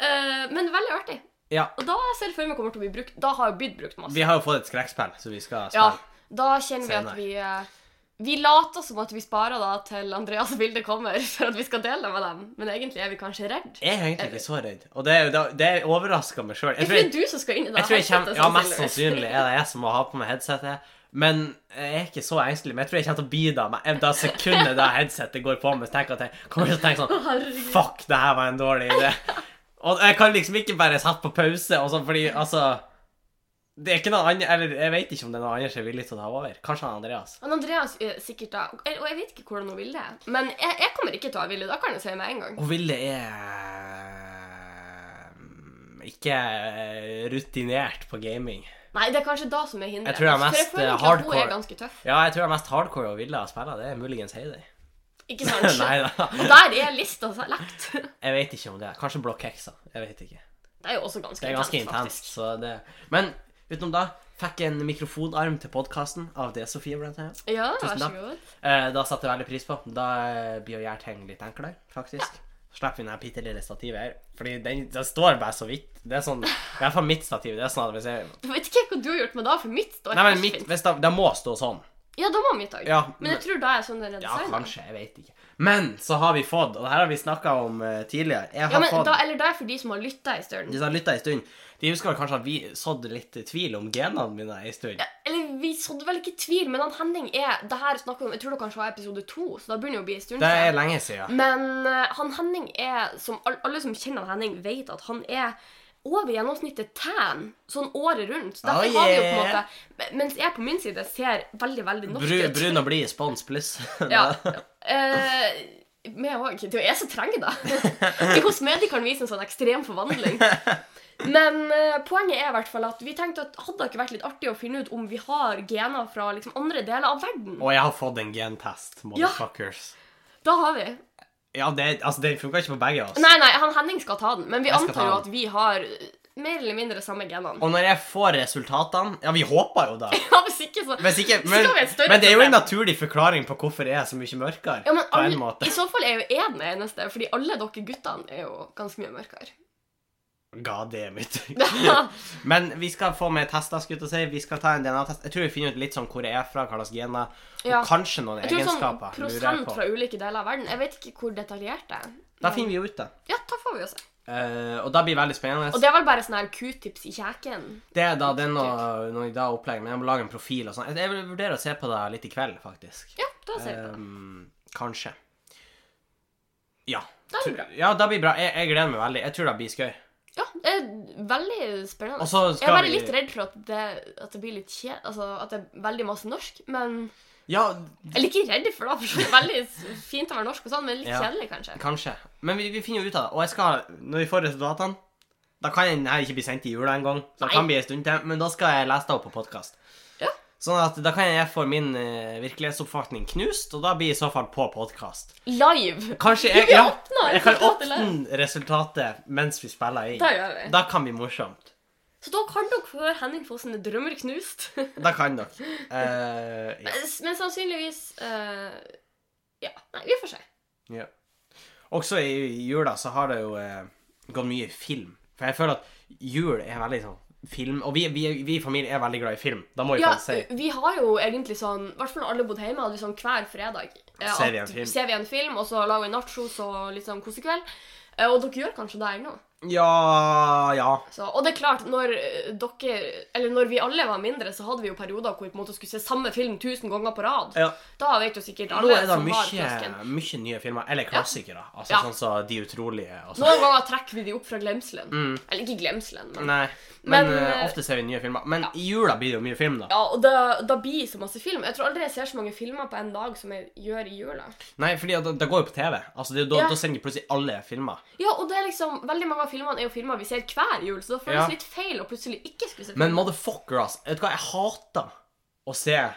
Speaker 1: eh, men veldig artig.
Speaker 2: Ja.
Speaker 1: Og da ser jeg for meg kommer til å bli brukt. Da har jo Byd brukt masse.
Speaker 2: Vi har jo fått et skrekkspill, så vi skal
Speaker 1: Ja,
Speaker 2: spille.
Speaker 1: da kjenner vi at
Speaker 2: Senere.
Speaker 1: vi eh, vi later som at vi sparer da til Andreas og Vilde kommer, for at vi skal dele det med dem. Men egentlig er vi kanskje redd.
Speaker 2: Jeg er egentlig
Speaker 1: Eh,
Speaker 2: ikke så redd, og det, er jo- det, det overrasker meg sjøl. Jeg,
Speaker 1: Det
Speaker 2: tror
Speaker 1: er
Speaker 2: jeg,
Speaker 1: fordi du som skal inn i det.
Speaker 2: jeg tror jeg kommer,
Speaker 1: headsetet,
Speaker 2: ja, mest
Speaker 1: sannsynligvis.
Speaker 2: sannsynlig er det jeg som må ha på meg headsetet. Men jeg er ikke så engstelig. Men jeg tror jeg kommer til å bli det med det sekundet da headsetet går på meg. Så tenker jeg at jeg kommer til å tenke sånn
Speaker 1: Herregud.
Speaker 2: Fuck, det her var en dårlig idé. Og jeg kan liksom ikke bare sette på pause, og sånn, fordi altså Det er ikke noen andre Eller jeg vet ikke om det er noen andre som er villig til å ta over. Kanskje han Andreas.
Speaker 1: Han Andreas er sikkert da, og jeg vet ikke hvordan hun vil det, men jeg, jeg kommer ikke til å ha vilje, da kan jeg si med en gang.
Speaker 2: Og Ville er mm, ikke eh, rutinert på gaming.
Speaker 1: Nei, det er kanskje da som er hindret.
Speaker 2: Jeg tror jeg er
Speaker 1: For
Speaker 2: mest,
Speaker 1: føler
Speaker 2: eh,
Speaker 1: egentlig at Hun
Speaker 2: hardcore.
Speaker 1: er ganske tøff,
Speaker 2: Ja, jeg tror det mest hardcore og Ville har spilla, det er muligens Heidi.
Speaker 1: ikke sant?
Speaker 2: Nei da.
Speaker 1: Og der er lista så lagt. Det
Speaker 2: Jeg vet ikke om det. er. Kanskje Blokkhexa. Jeg vet ikke.
Speaker 1: er jo også ganske,
Speaker 2: Det er ganske
Speaker 1: intenst,
Speaker 2: intenst, så det Men utenom da fikk jeg en mikrofonarm til podkasten av det Sofie blant annet.
Speaker 1: faktisk. Ja,
Speaker 2: Tusen
Speaker 1: vær så
Speaker 2: takk.
Speaker 1: god.
Speaker 2: Eh, Da satte jeg veldig pris på. Da eh, blir jo gjerne ting litt enklere, faktisk. Slipper vi det bitte lille stativet her. Fordi den, den står bare så vidt. Det er sånn I hvert fall mitt stativ. Det er sånn at hvis jeg
Speaker 1: Du vet ikke hva du har gjort med da, for mitt står
Speaker 2: Nei, men
Speaker 1: helt
Speaker 2: mitt,
Speaker 1: fint.
Speaker 2: hvis da, det må stå sånn.
Speaker 1: Ja, da var mitt òg.
Speaker 2: Ja,
Speaker 1: men jeg tror da er sånn den er
Speaker 2: Ja,
Speaker 1: designet.
Speaker 2: kanskje. Jeg vet ikke. Men så har vi fått, og det her har vi snakka om eh, tidligere Jeg har
Speaker 1: Ja, men
Speaker 2: fått
Speaker 1: da, eller da er for de som har lytta en stund.
Speaker 2: De som har lytta ei stund, de husker vel kanskje at vi sådde litt tvil om genene mine ei stund.
Speaker 1: Eller vi sådde vel ikke tvil, men han Henning er Det her snakker vi om, jeg tror det kanskje var episode to, så da begynner det å bli en stund
Speaker 2: Det er lenge siden.
Speaker 1: Men eh, han Henning er, som all- alle som kjenner han Henning, vet at han er over gjennomsnittet tan sånn året rundt. Derfor
Speaker 2: Oh,
Speaker 1: har vi jo på en
Speaker 2: yeah.
Speaker 1: måte Mens jeg på min side ser veldig, veldig norsk
Speaker 2: Bru,
Speaker 1: ut.
Speaker 2: brun og blid spons pluss.
Speaker 1: Ja. Eh, Meg òg. Det er jo jeg som trenger det. I kosmetikk kan vise en sånn ekstrem forvandling. Men eh, poenget er i hvert fall at vi tenkte at hadde det ikke vært litt artig å finne ut om vi har gener fra liksom, andre deler av verden?
Speaker 2: Og jeg har fått en gentest, motherfuckers.
Speaker 1: Da har vi.
Speaker 2: Ja, det, altså, den funka ikke på begge av oss.
Speaker 1: Nei, nei, han Henning skal ta den, men vi
Speaker 2: Jeg skal ta
Speaker 1: antar jo
Speaker 2: den.
Speaker 1: at vi har eh, mer eller mindre samme genene.
Speaker 2: Og når jeg får resultatene Ja, vi håper jo det.
Speaker 1: Ja, hvis ikke, så
Speaker 2: Hvis ikke,
Speaker 1: Så
Speaker 2: men,
Speaker 1: skal vi ha et større
Speaker 2: men det er jo en
Speaker 1: problem.
Speaker 2: naturlig forklaring på hvorfor jeg er så mye mørkere.
Speaker 1: ja, men
Speaker 2: på en
Speaker 1: alle-
Speaker 2: måte.
Speaker 1: I så fall er jo jeg den eneste, fordi alle dere guttene er jo ganske mye mørkere.
Speaker 2: God damn it.
Speaker 1: ja,
Speaker 2: Men vi skal få med tester, skulle jeg til å si. Vi skal ta en DNA-test. Jeg tror vi finner ut litt sånn hvor jeg er fra, hva slags gener, og kanskje noen
Speaker 1: Jeg tror sånn
Speaker 2: egenskaper. lurer jeg
Speaker 1: prosent
Speaker 2: på.
Speaker 1: fra ulike deler av verden. Jeg vet ikke hvor detaljert det er.
Speaker 2: Da finner vi jo ut det.
Speaker 1: Ja, da får vi jo se.
Speaker 2: Eh, og da blir det veldig spennende.
Speaker 1: Og det er vel bare sånn her q-tips i kjeken.
Speaker 2: Det er da den og noe i dag opplegg, men jeg må lage en profil og sånn. Jeg- Jeg vil vurdere å se på det litt i kveld, faktisk.
Speaker 1: Ja, da ser vi på det.
Speaker 2: Ehm, kanskje. Ja.
Speaker 1: Da blir det
Speaker 2: Tror-
Speaker 1: bra.
Speaker 2: Ja, det blir bra. Jeg, jeg gleder meg veldig. Jeg tror det blir skøy.
Speaker 1: Ja, det er veldig spennende.
Speaker 2: Og så
Speaker 1: jeg er
Speaker 2: skal
Speaker 1: bare
Speaker 2: vi
Speaker 1: litt redd for at det, at det blir litt kje... Altså, at det er veldig masse norsk, men
Speaker 2: Ja,
Speaker 1: Eller ikke redd for det, for det er veldig s- fint å være norsk og sånn, men litt
Speaker 2: Ja.
Speaker 1: kjedelig, kanskje.
Speaker 2: kanskje. Men vi, vi finner jo ut av det. Og jeg skal, når vi får resultatene Da kan den her ikke bli sendt i jula engang, så
Speaker 1: Nei.
Speaker 2: det kan bli en stund til. Men da skal jeg lese det opp på podkast.
Speaker 1: Ja.
Speaker 2: Sånn at da kan jeg få min eh, virkelighetsoppfatning knust, og da blir i så fall på podkast.
Speaker 1: Live!
Speaker 2: Kanskje jeg,
Speaker 1: Vi
Speaker 2: ja,
Speaker 1: åpner
Speaker 2: jeg kan
Speaker 1: resultatet
Speaker 2: åpne resultatet mens vi spiller
Speaker 1: Det
Speaker 2: inn.
Speaker 1: gjør vi.
Speaker 2: Da kan bli morsomt.
Speaker 1: Så da kan dere høre Henning få sine drømmer knust.
Speaker 2: Da kan dere. Eh, ja.
Speaker 1: men sannsynligvis eh, Ja. Nei, vi får se.
Speaker 2: ja. Også i i jula så har det jo eh, gått mye film. For jeg føler at jul er veldig sånn film Og vi, vi, vi i familien er veldig glad i film. Da må vi
Speaker 1: Ja, eh,
Speaker 2: faktisk si
Speaker 1: vi har jo egentlig sånn I hvert fall når alle bodde hjemme, hadde vi sånn hver fredag eh,
Speaker 2: Ser vi
Speaker 1: at-
Speaker 2: en film.
Speaker 1: Ser vi en film, og så lager vi nachos og litt sånn kosekveld. Eh, Og dere gjør kanskje det ennå.
Speaker 2: Ja, ja.
Speaker 1: Så, og det er klart, når eh, dere Eller når vi alle var mindre, så hadde vi jo perioder hvor vi på en måte skulle se samme film tusen ganger på rad.
Speaker 2: ja.
Speaker 1: Da vet jo sikkert
Speaker 2: Nå
Speaker 1: alle
Speaker 2: er det
Speaker 1: som har
Speaker 2: mye,
Speaker 1: kiosken.
Speaker 2: mye nye filmer. Eller klassikere. Altså
Speaker 1: Ja.
Speaker 2: sånn som De utrolige. og sånn.
Speaker 1: Noen ganger trekker vi de opp fra glemselen. Eller ikke glemselen, men
Speaker 2: Mm. Nei. Men,
Speaker 1: Men,
Speaker 2: eh,
Speaker 1: eh,
Speaker 2: ofte ser vi nye filmer. Men i jula blir det jo mye film, da.
Speaker 1: Ja, og da, da blir så masse film. Jeg tror aldri jeg ser så mange filmer på en dag som jeg gjør i jula.
Speaker 2: Nei, fordi at det, det går jo på TV. Altså, det, er jo da,
Speaker 1: Ja.
Speaker 2: da sender de plutselig alle filmer.
Speaker 1: Ja, og det er liksom, Veldig mange av filmene er jo filmer vi ser hver jul, så da føles
Speaker 2: Ja.
Speaker 1: det litt feil å plutselig ikke skulle se film.
Speaker 2: Men motherfucker, ass. Vet du hva, jeg hater å se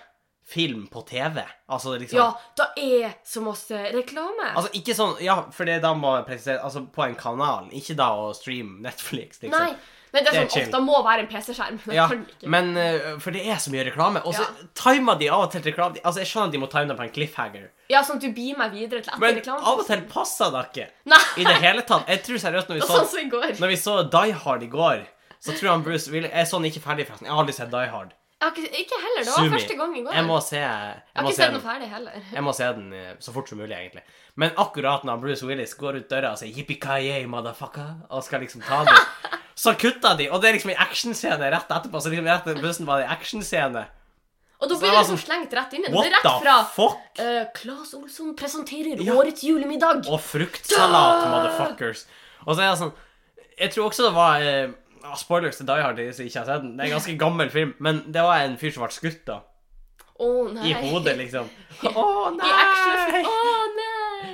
Speaker 2: film på TV. Altså, det er liksom
Speaker 1: ja, da er så masse reklame.
Speaker 2: Altså, ikke sånn Ja, for det da må jeg presisere Altså, på en kanal. Ikke da å streame Netflix,
Speaker 1: Nei.
Speaker 2: liksom.
Speaker 1: Men det
Speaker 2: Det
Speaker 1: er
Speaker 2: er
Speaker 1: sånn,
Speaker 2: chill.
Speaker 1: ofte må være en PC-skjerm. Det
Speaker 2: Ja,
Speaker 1: kan ikke.
Speaker 2: men eh, For det er så mye reklame. Og så timer de av og til reklame. Altså, jeg skjønner at de må time det på en cliffhanger,
Speaker 1: Ja, sånn at du blir meg videre til etter
Speaker 2: men
Speaker 1: reklame.
Speaker 2: av og til passer det ikke.
Speaker 1: Nei.
Speaker 2: I det hele tatt. Jeg tror seriøst når vi
Speaker 1: Det
Speaker 2: så
Speaker 1: var sånn som i går.
Speaker 2: Når vi så Die Hard i går, så tror han Bruce Willis Jeg så den ikke ferdig, forresten. Jeg har aldri sett Die Hard.
Speaker 1: Jeg har ikke, ikke heller. Det var
Speaker 2: Sumi.
Speaker 1: første gang i går.
Speaker 2: Jeg må se,
Speaker 1: jeg
Speaker 2: jeg
Speaker 1: har
Speaker 2: må
Speaker 1: ikke
Speaker 2: se
Speaker 1: sett den
Speaker 2: den.
Speaker 1: ferdig heller.
Speaker 2: Jeg må se den eh, så fort som mulig, egentlig. Men akkurat når Bruce Willis går ut døra og sier «Yippee-ki-yay, motherfucker», og skal liksom ta dem, så kutter de, og det er liksom en actionscene rett etterpå. Så liksom rett etter bussen var det en actionscene.
Speaker 1: Og da
Speaker 2: det
Speaker 1: blir
Speaker 2: var
Speaker 1: det liksom
Speaker 2: sånn,
Speaker 1: slengt rett inn i den. Det
Speaker 2: What
Speaker 1: er rett
Speaker 2: the
Speaker 1: fra
Speaker 2: fuck?
Speaker 1: eh, Claes Olsson presenterer
Speaker 2: Ja.
Speaker 1: årets julemiddag.
Speaker 2: Og fruktsalat, motherfuckers. Og så er det sånn Jeg tror også det var eh, ah, Spoilers til Die Hard, de som ikke har sett den. Det er en ganske gammel film, men det var en fyr som ble skutt, da.
Speaker 1: Å nei.
Speaker 2: I hodet, liksom. Å,
Speaker 1: I action.
Speaker 2: nei!
Speaker 1: Å nei.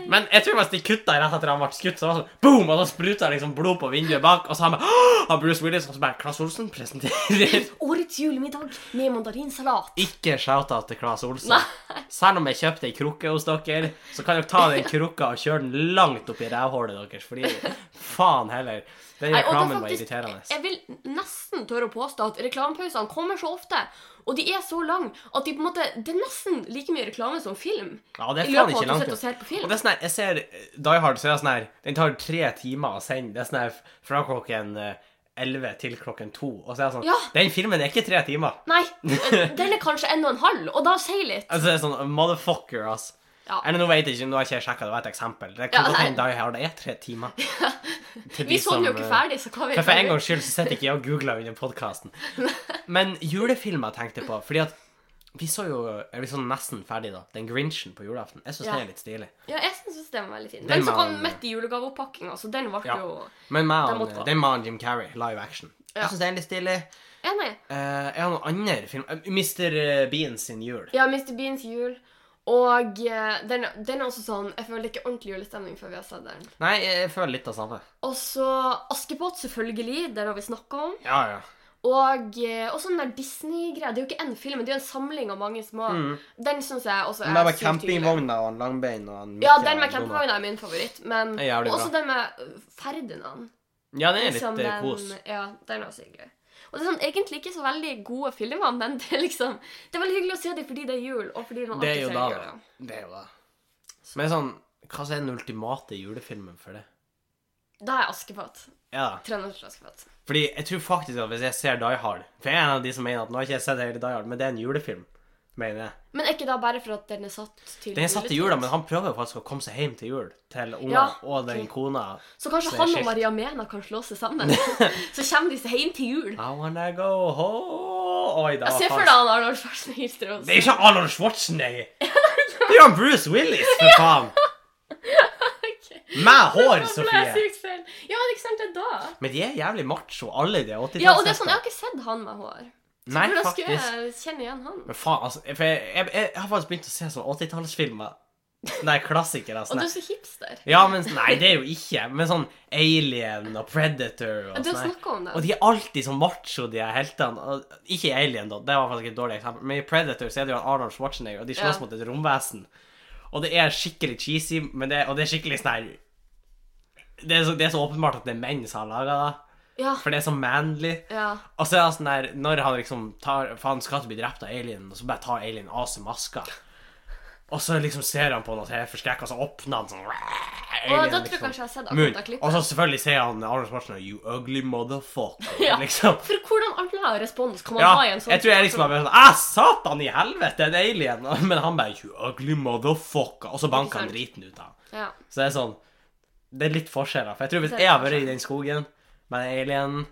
Speaker 2: Men jeg tror mest de kutta rett etter han ble skutt, så var det sånn boom! Og da spruta det liksom blod på vinduet bak, og så han bare «Åh!» Og Bruce Willis og så bare Claes Olsen presenterer
Speaker 1: Årets julemiddag med mandarinsalat.
Speaker 2: Ikke shout-out til Claes Olsen.
Speaker 1: Nei.
Speaker 2: Selv om jeg kjøpte ei krukke hos dere, så kan dere ta den krukka og kjøre den langt opp i rævhålet deres, fordi faen heller. Den
Speaker 1: Nei, og det er
Speaker 2: reklamen var
Speaker 1: faktisk-
Speaker 2: irriterende.
Speaker 1: Jeg vil nesten tørre å påstå at reklamepausene kommer så ofte, og de er så lange at de på en måte, det er nesten like mye reklame som film.
Speaker 2: Ja, det
Speaker 1: I
Speaker 2: er
Speaker 1: løpet
Speaker 2: faen
Speaker 1: av at
Speaker 2: ikke
Speaker 1: du
Speaker 2: langt.
Speaker 1: sitter og ser på film.
Speaker 2: Og det er sånn her, jeg ser eh, Die Hard, så er det sånn her Den tar tre timer å sende. Det er sånn her fra klokken eh, 11 til klokken 2. Og så er det sånn
Speaker 1: Ja.
Speaker 2: Den filmen er ikke tre timer.
Speaker 1: Nei, den er kanskje en og en halv, og da sier litt.
Speaker 2: Altså, det er sånn Motherfucker, ass.
Speaker 1: Ja.
Speaker 2: Eller nå vet jeg ikke, nå har ikke jeg sjekka, det var et eksempel. Det
Speaker 1: Ja,
Speaker 2: kan godt
Speaker 1: nei.
Speaker 2: hende Die Hard er tre timer. Til de
Speaker 1: Vi så den jo
Speaker 2: som,
Speaker 1: ikke
Speaker 2: eh,
Speaker 1: ferdig, så hva vet
Speaker 2: For, for
Speaker 1: vi?
Speaker 2: en gangs skyld så sitter ikke jeg og googler under podkasten. Men julefilmer tenkte jeg på, fordi at vi så jo er vi sånn nesten ferdig da, den Grinchen på julaften. Jeg syns
Speaker 1: Ja.
Speaker 2: den er litt stilig.
Speaker 1: Ja, jeg syns den var veldig fin.
Speaker 2: Den
Speaker 1: Men så kom
Speaker 2: var-
Speaker 1: Mett i julegaveoppakkinga, så den ble
Speaker 2: Ja.
Speaker 1: jo
Speaker 2: Men meg
Speaker 1: Den
Speaker 2: og
Speaker 1: måtte gå.
Speaker 2: den med han Jim Carrey, live action.
Speaker 1: Ja.
Speaker 2: Jeg syns den er litt stilig.
Speaker 1: Enig.
Speaker 2: Eh, jeg har noen andre film eh, Mr. Bean sin jul.
Speaker 1: Ja, Mr. Beans jul. Og eh, den, den er også sånn Jeg føler ikke ordentlig julestemning før vi har sett den.
Speaker 2: Nei, jeg føler litt av samme.
Speaker 1: Og så Askepott, selvfølgelig. Den har vi snakka om.
Speaker 2: Ja, ja.
Speaker 1: Og eh, også den der Disney-greia. Det er jo ikke én film, men det er jo en samling av mange små.
Speaker 2: Mm.
Speaker 1: Den syns jeg også
Speaker 2: Den der
Speaker 1: er
Speaker 2: med
Speaker 1: sykt hyggelig.
Speaker 2: campingvogna og en langbein og en
Speaker 1: Ja, den
Speaker 2: Mickey
Speaker 1: med
Speaker 2: og en Donald.
Speaker 1: campingvogna er min favoritt. Men
Speaker 2: Det er jævlig
Speaker 1: også den med øh, Ferdinand.
Speaker 2: Ja, den er litt
Speaker 1: Liksom
Speaker 2: eh,
Speaker 1: den-
Speaker 2: kos.
Speaker 1: Ja, den er også hyggelig. Og det er sånn, egentlig ikke så veldig gode filmer, men det er liksom Det er veldig hyggelig å se dem fordi det er jul, og fordi man
Speaker 2: Det er
Speaker 1: alltid
Speaker 2: jo
Speaker 1: ser
Speaker 2: da,
Speaker 1: jul.
Speaker 2: da.
Speaker 1: ja.
Speaker 2: Det er jo det. Men sånn, hva er den ultimate julefilmen for det?
Speaker 1: Da er Askepott.
Speaker 2: Ja da.
Speaker 1: Tre nøtter til Askepott.
Speaker 2: Fordi jeg tror faktisk at hvis jeg ser Die Hard For jeg er en av de som mener at nå har ikke jeg sett hele Die Hard, men det er en julefilm, mener jeg.
Speaker 1: Men er ikke da bare for at den er satt til
Speaker 2: Den er satt til
Speaker 1: juletid?
Speaker 2: jula, men han prøver faktisk å komme seg hjem til jul. Til ungene
Speaker 1: Ja,
Speaker 2: og den
Speaker 1: ok.
Speaker 2: kona.
Speaker 1: Så kanskje
Speaker 2: Så det er
Speaker 1: han og
Speaker 2: skilt.
Speaker 1: Maria Mena kan slå seg sammen? så kommer de seg hjem til jul.
Speaker 2: I wanna go home Oi, da.
Speaker 1: Jeg ser for
Speaker 2: faen.
Speaker 1: deg han Arnold Schwarzenegger står og-
Speaker 2: Det er ikke Arnold Schwarzenegger! Det er jo han Bruce Willis, for faen!
Speaker 1: Ok.
Speaker 2: Med
Speaker 1: Nå ble
Speaker 2: hår,
Speaker 1: jeg
Speaker 2: Sofie!
Speaker 1: sykt feil. Ja, men ikke sant, det er da.
Speaker 2: Men de er jævlig macho, alle de 80
Speaker 1: Ja, og det er sånn, jeg har ikke sett han med hår.
Speaker 2: Nei,
Speaker 1: Hvordan skulle
Speaker 2: faktisk.
Speaker 1: jeg kjenne igjen han?
Speaker 2: Men faen, altså. For jeg, jeg, jeg, jeg har faktisk begynt å se sånn 80-tallsfilmer. Nei, klassikere.
Speaker 1: Og
Speaker 2: Sånn.
Speaker 1: du er
Speaker 2: der.
Speaker 1: så hipster.
Speaker 2: Ja, men Nei, det er jo ikke. Men sånn Alien og Predator og
Speaker 1: Du har
Speaker 2: sånn. der.
Speaker 1: snakka om
Speaker 2: Og
Speaker 1: det.
Speaker 2: de er alltid sånn macho, de her heltene. Og- Ikke i Alien, da. Det var faktisk et dårlig eksempel. Men i Predator så er det jo Arnold Schwarzenegger, og de slåss
Speaker 1: Ja.
Speaker 2: mot et romvesen. Og det er skikkelig cheesy, men det, og det er skikkelig sånn her det er, så, det er så åpenbart at det er menn som har laga det,
Speaker 1: Ja.
Speaker 2: for det er så manly.
Speaker 1: ja.
Speaker 2: Og så er han sånn der, når han liksom tar For han skal ikke bli drept av alien, og så bare tar alien av seg maska. Og så liksom ser han på noe her forskrekka, og så åpner han sånn
Speaker 1: Og
Speaker 2: alien,
Speaker 1: da tror jeg
Speaker 2: liksom,
Speaker 1: kanskje jeg har sett
Speaker 2: munn.
Speaker 1: akkurat det
Speaker 2: Og
Speaker 1: klippet.
Speaker 2: så selvfølgelig ser han Arnold Schwarzenegger You ugly motherfucker.
Speaker 1: Ja.
Speaker 2: Liksom.
Speaker 1: For hvordan annen respons kan man
Speaker 2: Ja,
Speaker 1: ha i en
Speaker 2: jeg
Speaker 1: sånn
Speaker 2: tror jeg liksom bare sånn Æh, satan i helvete, en alien! Men han bare You ugly motherfucker. Og så banker han
Speaker 1: sant.
Speaker 2: driten ut av ham.
Speaker 1: Ja.
Speaker 2: Så det er sånn Det er litt forskjeller. For jeg tror hvis
Speaker 1: Det er
Speaker 2: jeg har vært
Speaker 1: forskjell.
Speaker 2: i den skogen med den alienen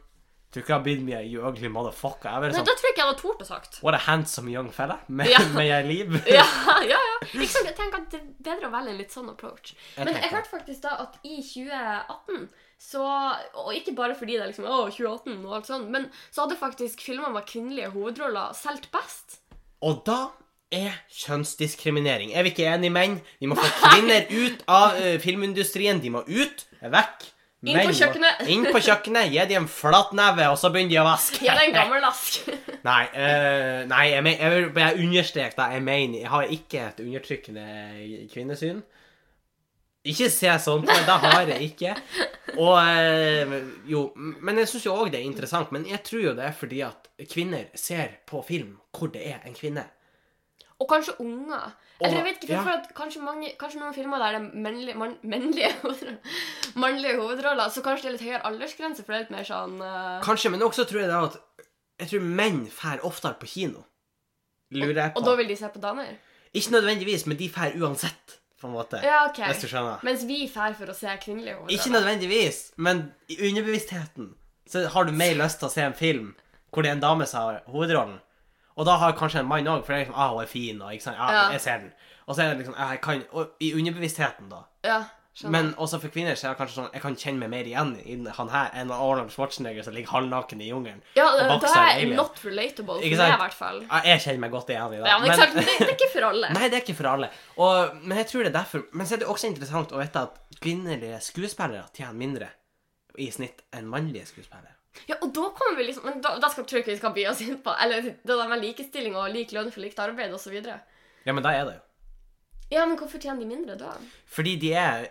Speaker 2: Tror ikke jeg har blitt mye You ugly motherfucker. Jeg har vært
Speaker 1: Nei,
Speaker 2: sånn
Speaker 1: da tror jeg ikke jeg hadde tort å sagt.
Speaker 2: What a handsome young fella med,
Speaker 1: Ja.
Speaker 2: med jeg liv.
Speaker 1: Ja, ja, ja. Ikke sant, jeg tenker at det er bedre å velge en litt sånn approach. Men jeg
Speaker 2: tenker
Speaker 1: hørte faktisk da at i 2018 så, Og ikke bare fordi det er liksom å, 2018 og alt sånn, men så hadde faktisk filmer med kvinnelige hovedroller solgt best.
Speaker 2: Og da er kjønnsdiskriminering. Er vi ikke enige, menn? Vi må få kvinner ut av eh, filmindustrien. De må ut, vekk.
Speaker 1: Inn
Speaker 2: Menn
Speaker 1: på
Speaker 2: må-
Speaker 1: kjøkkenet.
Speaker 2: Inn på kjøkkenet, gi dem en flat neve, og så begynner de å vaske.
Speaker 1: Ja, det er en gammel lask.
Speaker 2: Nei, eh, nei jeg, men, jeg, vil- jeg understreker det. Jeg mener, jeg har ikke et undertrykkende kvinnesyn. Ikke se sånn på meg, det har jeg ikke. Og eh, jo, men jeg syns jo òg det er interessant. Men jeg tror jo det er fordi at kvinner ser på film hvor det er en kvinne.
Speaker 1: Og kanskje unger.
Speaker 2: Og-
Speaker 1: Eller jeg vet ikke,
Speaker 2: ja.
Speaker 1: for at kanskje, mange, kanskje noen filmer der det er mennlige, mann, mennlige hovedroller, mannlige hovedroller, så kanskje det er litt høyere aldersgrense, for det er litt mer sånn eh,
Speaker 2: Kanskje, men også tror jeg det er at Jeg tror menn fær oftere på kino. Lurer jeg på.
Speaker 1: Og da vil de se på damer?
Speaker 2: Ikke nødvendigvis, men de fær uansett, på en måte.
Speaker 1: Ja, OK.
Speaker 2: Hvis du skjønner.
Speaker 1: Mens vi drar for å se kvinnelige
Speaker 2: Ikke
Speaker 1: hovedroller.
Speaker 2: nødvendigvis, men i underbevisstheten så har du mer lyst til å se en film hvor det er en dame som har hovedrollen. Og da har kanskje en mann òg, for det er liksom, ah, hun er fin, og ikke sant, ah,
Speaker 1: Ja.
Speaker 2: jeg ser den. Og så er det liksom, ah, jeg kan, og i underbevisstheten, da.
Speaker 1: Ja, skjønner.
Speaker 2: Men også for kvinner så er det kanskje sånn, jeg kan kjenne meg mer igjen i han her enn Arnold Schwarzenegger som ligger halvnaken i jungelen.
Speaker 1: Ja,
Speaker 2: og
Speaker 1: da
Speaker 2: bakser
Speaker 1: er
Speaker 2: alien.
Speaker 1: jeg not relatable,
Speaker 2: Ikke
Speaker 1: for
Speaker 2: sant?
Speaker 1: meg i hvert fall.
Speaker 2: Ah, jeg kjenner meg godt igjen i det.
Speaker 1: Ja, men, ikke sant, det, det er ikke for alle.
Speaker 2: Nei, det er ikke for alle. Og, men jeg tror det er derfor. Men så er det også interessant å vite at kvinnelige skuespillere tjener mindre i snitt enn mannlige skuespillere.
Speaker 1: Ja, og da kommer vi liksom Men da, da skal, tror jeg ikke vi skal by oss inn på Eller det der med likestilling og lik lønn for likt arbeid osv. Ja,
Speaker 2: Ja, men da er det jo.
Speaker 1: men hvorfor tjener de mindre da?
Speaker 2: Fordi de er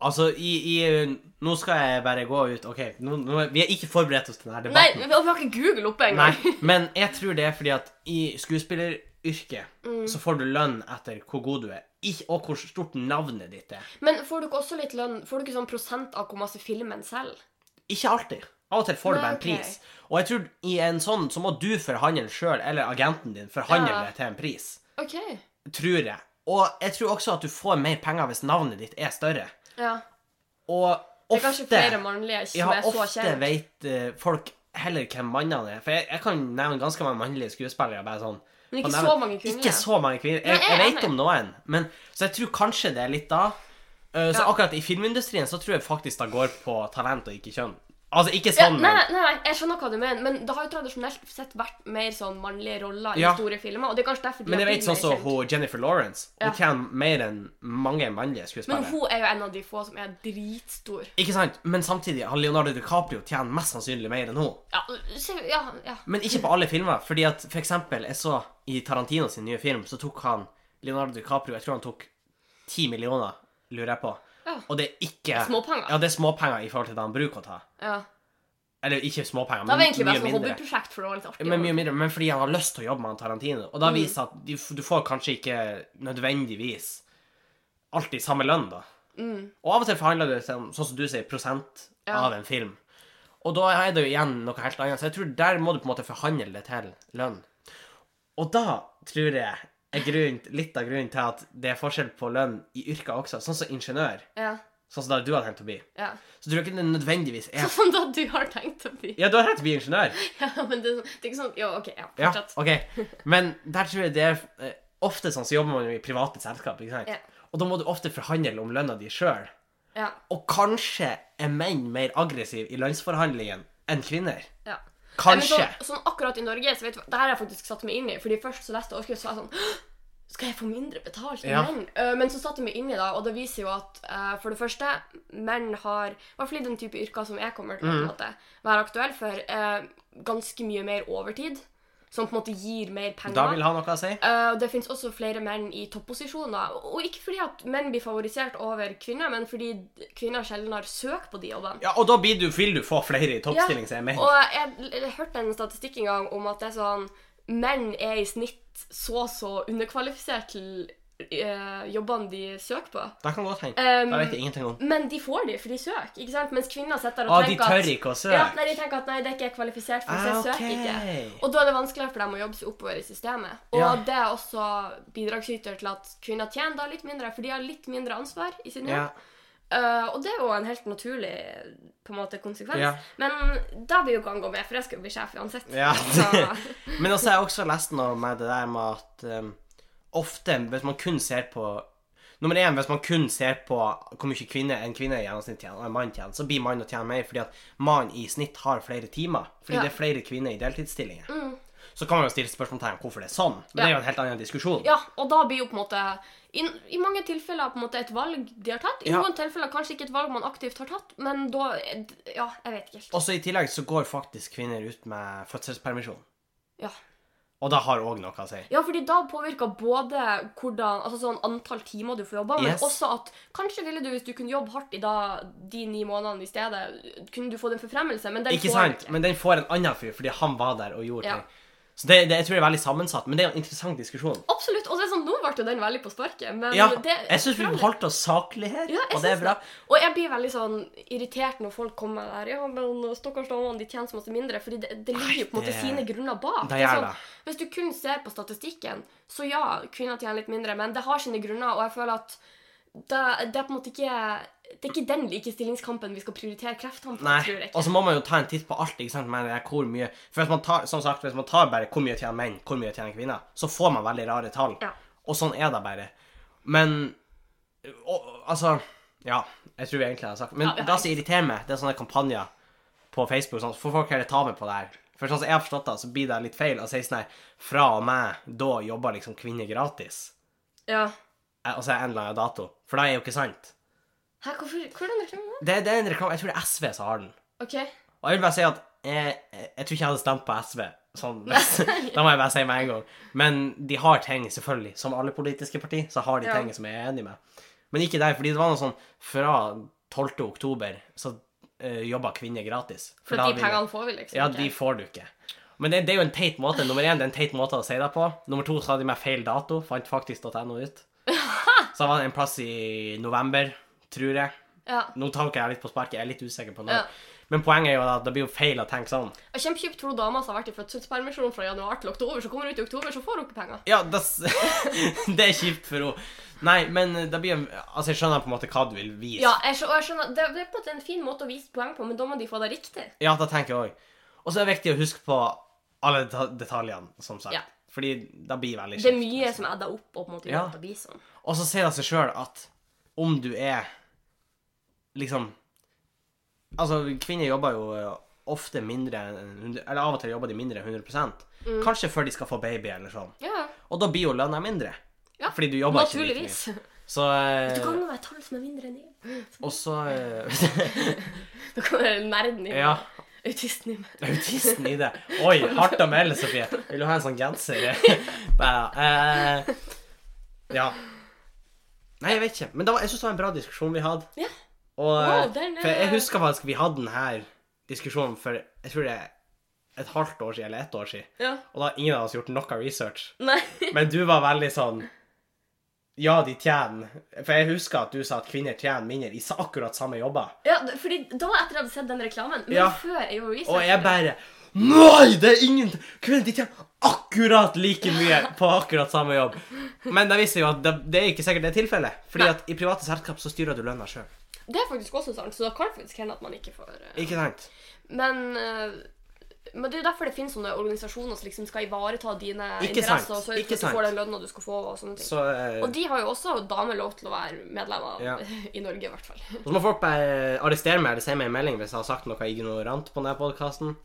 Speaker 2: Altså, i, i Nå skal jeg bare gå ut OK, nå, nå, vi er ikke forberedt oss til denne
Speaker 1: Nei,
Speaker 2: debatten.
Speaker 1: vi vi har ikke Google oppe engang.
Speaker 2: Nei, men jeg tror det er fordi at i skuespilleryrket
Speaker 1: Mm.
Speaker 2: så får du lønn etter hvor god du er, ikke, og hvor stort navnet ditt er.
Speaker 1: Men får du ikke også litt lønn? Får du ikke sånn prosent av hvor masse filmen selv?
Speaker 2: Ikke alltid. Av og til får du
Speaker 1: Nei,
Speaker 2: bare en
Speaker 1: ok.
Speaker 2: pris. Og jeg tror i en sånn så må du forhandle sjøl, eller agenten din, forhandle
Speaker 1: Ja.
Speaker 2: det til en pris.
Speaker 1: OK.
Speaker 2: Tror jeg. Og jeg tror også at du får mer penger hvis navnet ditt er større.
Speaker 1: Ja.
Speaker 2: Og
Speaker 1: Det er kanskje
Speaker 2: ofte
Speaker 1: flere mannlige som
Speaker 2: Ja,
Speaker 1: er så
Speaker 2: ofte
Speaker 1: kjent.
Speaker 2: vet eh, folk heller hvem mannene er. For jeg, jeg kan nevne ganske mange mannlige skuespillere. bare sånn.
Speaker 1: Men ikke
Speaker 2: Og
Speaker 1: så
Speaker 2: nevne-
Speaker 1: mange kvinnelige.
Speaker 2: Ikke så mange kvinner. Jeg,
Speaker 1: Nei, jeg
Speaker 2: jeg
Speaker 1: er enig.
Speaker 2: vet om noen. Men, så jeg tror kanskje det er litt da. Eh, så
Speaker 1: Ja.
Speaker 2: akkurat i filmindustrien så tror jeg faktisk det går på talent og ikke kjønn. Altså, ikke sånn,
Speaker 1: nei,
Speaker 2: men
Speaker 1: nei, nei, jeg skjønner hva du mener, men det har jo tradisjonelt sett vært mer sånn mannlige roller i
Speaker 2: Ja.
Speaker 1: store filmer. og det er kanskje derfor de
Speaker 2: Men jeg
Speaker 1: har
Speaker 2: vet
Speaker 1: blitt
Speaker 2: sånn
Speaker 1: mer
Speaker 2: som
Speaker 1: kjent.
Speaker 2: hun Jennifer Lawrence.
Speaker 1: Ja.
Speaker 2: Hun tjener mer enn mange
Speaker 1: Men
Speaker 2: mannlige skuespillere.
Speaker 1: hun er jo en av de få som er dritstor.
Speaker 2: Ikke sant? Men samtidig har Leonardo DiCaprio tjener mest sannsynlig mer enn hun.
Speaker 1: Ja, se- ja, ja.
Speaker 2: Men ikke på alle filmer. fordi at for eksempel, jeg så i Tarantino sin nye film, så tok han Leonardo DiCaprio Jeg tror han tok ti millioner, lurer jeg på.
Speaker 1: Ja.
Speaker 2: Og det er ikke
Speaker 1: Småpenger.
Speaker 2: Ja, det er småpenger i forhold til det han bruker å ta.
Speaker 1: ja.
Speaker 2: Eller ikke småpenger,
Speaker 1: Det var
Speaker 2: men
Speaker 1: egentlig
Speaker 2: mye
Speaker 1: bare sånn
Speaker 2: mindre.
Speaker 1: hobbyprosjekt for å være litt artig.
Speaker 2: Men mye mindre, men fordi han har lyst til å jobbe med han Tarantino. Og da viser at du, du får kanskje ikke nødvendigvis alltid samme lønn, da. Og av og til forhandler det seg om, sånn som du sier, prosent
Speaker 1: Ja.
Speaker 2: av en film. Og da er det jo igjen noe helt annet. Så jeg tror der må du på en måte forhandle det til lønn. Og da tror jeg er grunn, litt av grunnen til at det er forskjell på lønn i yrker også. Sånn som ingeniør.
Speaker 1: Ja,
Speaker 2: Sånn som det du har tenkt å bli.
Speaker 1: ja.
Speaker 2: Så tror jeg ikke det nødvendigvis er
Speaker 1: Sånn da du har tenkt å bli.
Speaker 2: Ja, du har rett til å bli ingeniør.
Speaker 1: Ja, men det, er sånn- det er ikke sånn Ja, OK, ja,
Speaker 2: Ja,
Speaker 1: fortsett.
Speaker 2: ok. Men der tror jeg det er eh, Ofte sånn så jobber man jo i private selskap, ikke sant?
Speaker 1: Ja.
Speaker 2: Og da må du ofte forhandle om lønna di sjøl.
Speaker 1: Ja,
Speaker 2: Og kanskje er menn mer aggressive i lønnsforhandlingen enn kvinner.
Speaker 1: ja.
Speaker 2: Kanskje.
Speaker 1: Nei, men sånn, sånn akkurat i Norge, så vet du hva, det her har jeg faktisk satt meg inn i. Fordi først så leste jeg overskriften, så var jeg sånn «Hå! Skal jeg få mindre betalt enn
Speaker 2: Ja.
Speaker 1: menn? Eh, Men så satte jeg meg inn i det, og det viser jo at eh, for det første, menn har, i hvert fall i den type yrker som jeg kommer til å på en
Speaker 2: Mm.
Speaker 1: måte, være aktuell for, eh, ganske mye mer overtid. Som på en måte gir mer penger.
Speaker 2: Da vil han ha noe å si.
Speaker 1: Eh, og det finnes også flere menn i topposisjoner. Og og ikke fordi at menn blir favorisert over kvinner, men fordi d- kvinner sjelden har søkt på de jobbene.
Speaker 2: Ja, og da blir du, vil du få flere i toppstilling,
Speaker 1: Ja,
Speaker 2: sier menn.
Speaker 1: Og jeg, l- l- hørte en statistikk en gang om at det er sånn Menn er i snitt så og så underkvalifisert til eh, jobbene de søker på.
Speaker 2: Det kan godt hende.
Speaker 1: Um,
Speaker 2: Det vet jeg ingenting om.
Speaker 1: Men de får de, for de søker, ikke sant? Mens kvinner sitter der
Speaker 2: Å,
Speaker 1: og
Speaker 2: Ah, de
Speaker 1: tenker
Speaker 2: tør
Speaker 1: at
Speaker 2: ikke å
Speaker 1: ja,
Speaker 2: søke.
Speaker 1: nei, de tenker at nei, det er ikke jeg kvalifisert for, så jeg
Speaker 2: Ah,
Speaker 1: søker ikke.
Speaker 2: ok.
Speaker 1: Og da er det vanskeligere for dem å jobbe seg oppover i systemet. Og
Speaker 2: Ja.
Speaker 1: det er også bidragsyter til at kvinner tjener da litt mindre, for de har litt mindre ansvar i sin
Speaker 2: Ja.
Speaker 1: jobb. Eh, og det er jo en helt naturlig på en måte, konsekvens.
Speaker 2: Ja.
Speaker 1: Men da vil jo ikke han gå med, for jeg skal jo bli sjef uansett.
Speaker 2: Ja.
Speaker 1: Så,
Speaker 2: Men også har jeg også lest noe med det der med at um, ofte, hvis man kun ser på Nummer én, hvis man kun ser på hvor mye kvinne en kvinne i gjennomsnitt tjener, og en mann tjener, så blir mannen å tjene mer fordi at mannen i snitt har flere timer. Fordi
Speaker 1: Ja. Mm.
Speaker 2: det er flere kvinner i deltidsstillinger. Så kan man jo stille spørsmålstegn om hvorfor det er sånn, men det er jo en helt annen diskusjon.
Speaker 1: ja, og da blir jo på en måte i, I mange tilfeller på en måte et valg de har tatt. I
Speaker 2: Ja.
Speaker 1: noen tilfeller kanskje ikke et valg man aktivt har tatt, men da Ja, jeg vet ikke helt.
Speaker 2: Også i tillegg så går faktisk kvinner ut med fødselspermisjon,
Speaker 1: Ja.
Speaker 2: og det har òg noe å si.
Speaker 1: Ja, fordi da påvirker både hvordan, altså sånn antall timer du får jobba,
Speaker 2: Yes.
Speaker 1: men også at kanskje ville du, hvis du kunne jobbe hardt i da, de ni månedene i stedet, kunne du fått en forfremmelse, men den
Speaker 2: Ikke
Speaker 1: får du
Speaker 2: sant? Men den får en annen fyr fordi han var der og gjorde
Speaker 1: Ja.
Speaker 2: ting. Så det, det, jeg tror det er veldig sammensatt, men det er jo en interessant diskusjon.
Speaker 1: Absolutt. Og det er sånn, nå ble jo den veldig på sparket, men
Speaker 2: Ja,
Speaker 1: det
Speaker 2: jeg syns vi holdt oss saklig her,
Speaker 1: Ja, jeg
Speaker 2: og det er
Speaker 1: synes
Speaker 2: bra.
Speaker 1: det. Og jeg blir veldig sånn irritert når folk kommer der Ja, men stakkars damene, de tjener så masse mindre. Fordi det, det ligger jo på en måte
Speaker 2: det-
Speaker 1: sine grunner bak.
Speaker 2: det
Speaker 1: Det er
Speaker 2: gjør
Speaker 1: sånn,
Speaker 2: det.
Speaker 1: hvis du kun ser på statistikken, så ja, kvinner tjener litt mindre, men det har sine grunner, og jeg føler at det, det er på en måte ikke Det er ikke den likestillingskampen vi skal prioritere kreftene på,
Speaker 2: Nei,
Speaker 1: tror jeg.
Speaker 2: Og så må man jo ta en titt på alt. ikke sant, men det er hvor mye, for hvis man tar, som sagt, hvis man tar bare hvor mye tjener menn, hvor mye tjener kvinner, så får man veldig rare tall.
Speaker 1: Ja.
Speaker 2: Og sånn er det bare. Men og, Altså Ja, jeg tror vi egentlig har sagt Men
Speaker 1: Ja, vi har
Speaker 2: det som irriterer meg, det er sånne kampanjer på Facebook sånn, for folk heller ta med på det her. For sånn som jeg har forstått det, så blir det litt feil å si sånn her Fra og med da jobber liksom kvinner gratis.
Speaker 1: Ja.
Speaker 2: Eh, Og så er det en eller annen dato. For det er jo ikke sant.
Speaker 1: Hæ, hvorfor, hvordan reklamer du?
Speaker 2: Det, det er en reklame, Jeg tror det er SV som har den.
Speaker 1: OK.
Speaker 2: Og jeg vil bare si at jeg, jeg, jeg tror ikke jeg hadde stemt på SV. Sånn, da må jeg bare si med en gang. Men de har ting, selvfølgelig. Som alle politiske partier, så har de
Speaker 1: Ja.
Speaker 2: ting som jeg er enig med. Men ikke der, fordi det var noe sånn fra 12. oktober så uh, jobba kvinner gratis.
Speaker 1: For
Speaker 2: da
Speaker 1: de
Speaker 2: vil-
Speaker 1: pengene får vi liksom
Speaker 2: Ja,
Speaker 1: ikke.
Speaker 2: de får du ikke. Men det, det er jo en teit måte. Nummer én, det er en teit måte å si det på. Nummer to, så hadde de med feil dato. Fant faktisk.no ut. Så var det en plass i november, tror jeg.
Speaker 1: Ja.
Speaker 2: Nå tar ikke jeg litt på sparket, jeg er litt usikker på nå.
Speaker 1: Ja.
Speaker 2: Men poenget er jo at det blir jo feil å tenke sånn.
Speaker 1: Og Kjempekjipt for hun dama som har vært i fødselspermisjon fra januar til oktober, så kommer hun ut i oktober, så får hun ikke penger.
Speaker 2: Ja, det, s- det er kjipt for henne. Nei, men det blir en Altså, jeg skjønner på en måte hva du vil vise.
Speaker 1: Ja, jeg skjø- og jeg skjønner, det, det er på en måte en fin måte å vise poeng på, men da må de få det riktig.
Speaker 2: Ja, det tenker jeg òg. Og så er det viktig å huske på alle deta- detaljene, som sagt.
Speaker 1: Ja.
Speaker 2: Fordi det blir veldig
Speaker 1: Det er
Speaker 2: kjipt.
Speaker 1: mye som er edda opp og på en måte gjør
Speaker 2: Ja.
Speaker 1: at det blir sånn.
Speaker 2: Og så sier det seg sjøl at om du er liksom Altså, kvinner jobber jo eh, ofte mindre enn 100 Eller av og til jobber de mindre enn 100
Speaker 1: Mm.
Speaker 2: Kanskje før de skal få baby, eller sånn.
Speaker 1: Ja,
Speaker 2: Og da blir jo lønna mindre.
Speaker 1: Ja,
Speaker 2: Fordi du jobber ikke like
Speaker 1: naturligvis.
Speaker 2: mye. Så eh,
Speaker 1: Du kan jo være et tall som er mindre enn én.
Speaker 2: Og så eh,
Speaker 1: Da kan du være nerden i meg.
Speaker 2: Ja.
Speaker 1: Autisten i meg.
Speaker 2: Autisten i det. Oi, hardt å melde, Sofie. Vil du ha en sånn genser? Nei, eh, ja. Nei, jeg vet ikke. Men det var, jeg syns det var en bra diskusjon vi hadde.
Speaker 1: Ja.
Speaker 2: Og, eh,
Speaker 1: Wow, den er-
Speaker 2: for jeg husker faktisk vi hadde denne diskusjonen for jeg tror det er et halvt år siden eller ett år siden.
Speaker 1: Ja.
Speaker 2: Og da har ingen av oss gjort noe research.
Speaker 1: Nei.
Speaker 2: Men du var veldig sånn Ja, de tjener For jeg husker at du sa at kvinner tjener mindre i sa- akkurat samme jobber.
Speaker 1: Ja, fordi da etter jeg hadde sett den reklamen, men
Speaker 2: Ja.
Speaker 1: før jeg gjorde research
Speaker 2: Og jeg bare Nei, det er ingen Kvinner de tjener akkurat like mye på akkurat samme jobb. Men det viser jo at det, det er ikke sikkert det er tilfellet. Fordi
Speaker 1: Nei.
Speaker 2: at i private selskap så styrer du lønna sjøl.
Speaker 1: Det er faktisk også sant, så da kan det faktisk hende at man ikke får eh,
Speaker 2: Ikke sant?
Speaker 1: Men, eh, men det er jo derfor det finnes sånne organisasjoner som liksom skal ivareta dine
Speaker 2: Ikke sant,
Speaker 1: interesser og sørge
Speaker 2: ikke
Speaker 1: for at du får
Speaker 2: sant.
Speaker 1: den lønna du skal få. og sånne ting.
Speaker 2: Så, eh,
Speaker 1: Og de har jo også damer lov til å være medlemmer
Speaker 2: Ja.
Speaker 1: i Norge, i hvert fall.
Speaker 2: så må folk bare arrestere meg eller sende meg en melding hvis jeg har sagt noe ignorant på denne podkasten.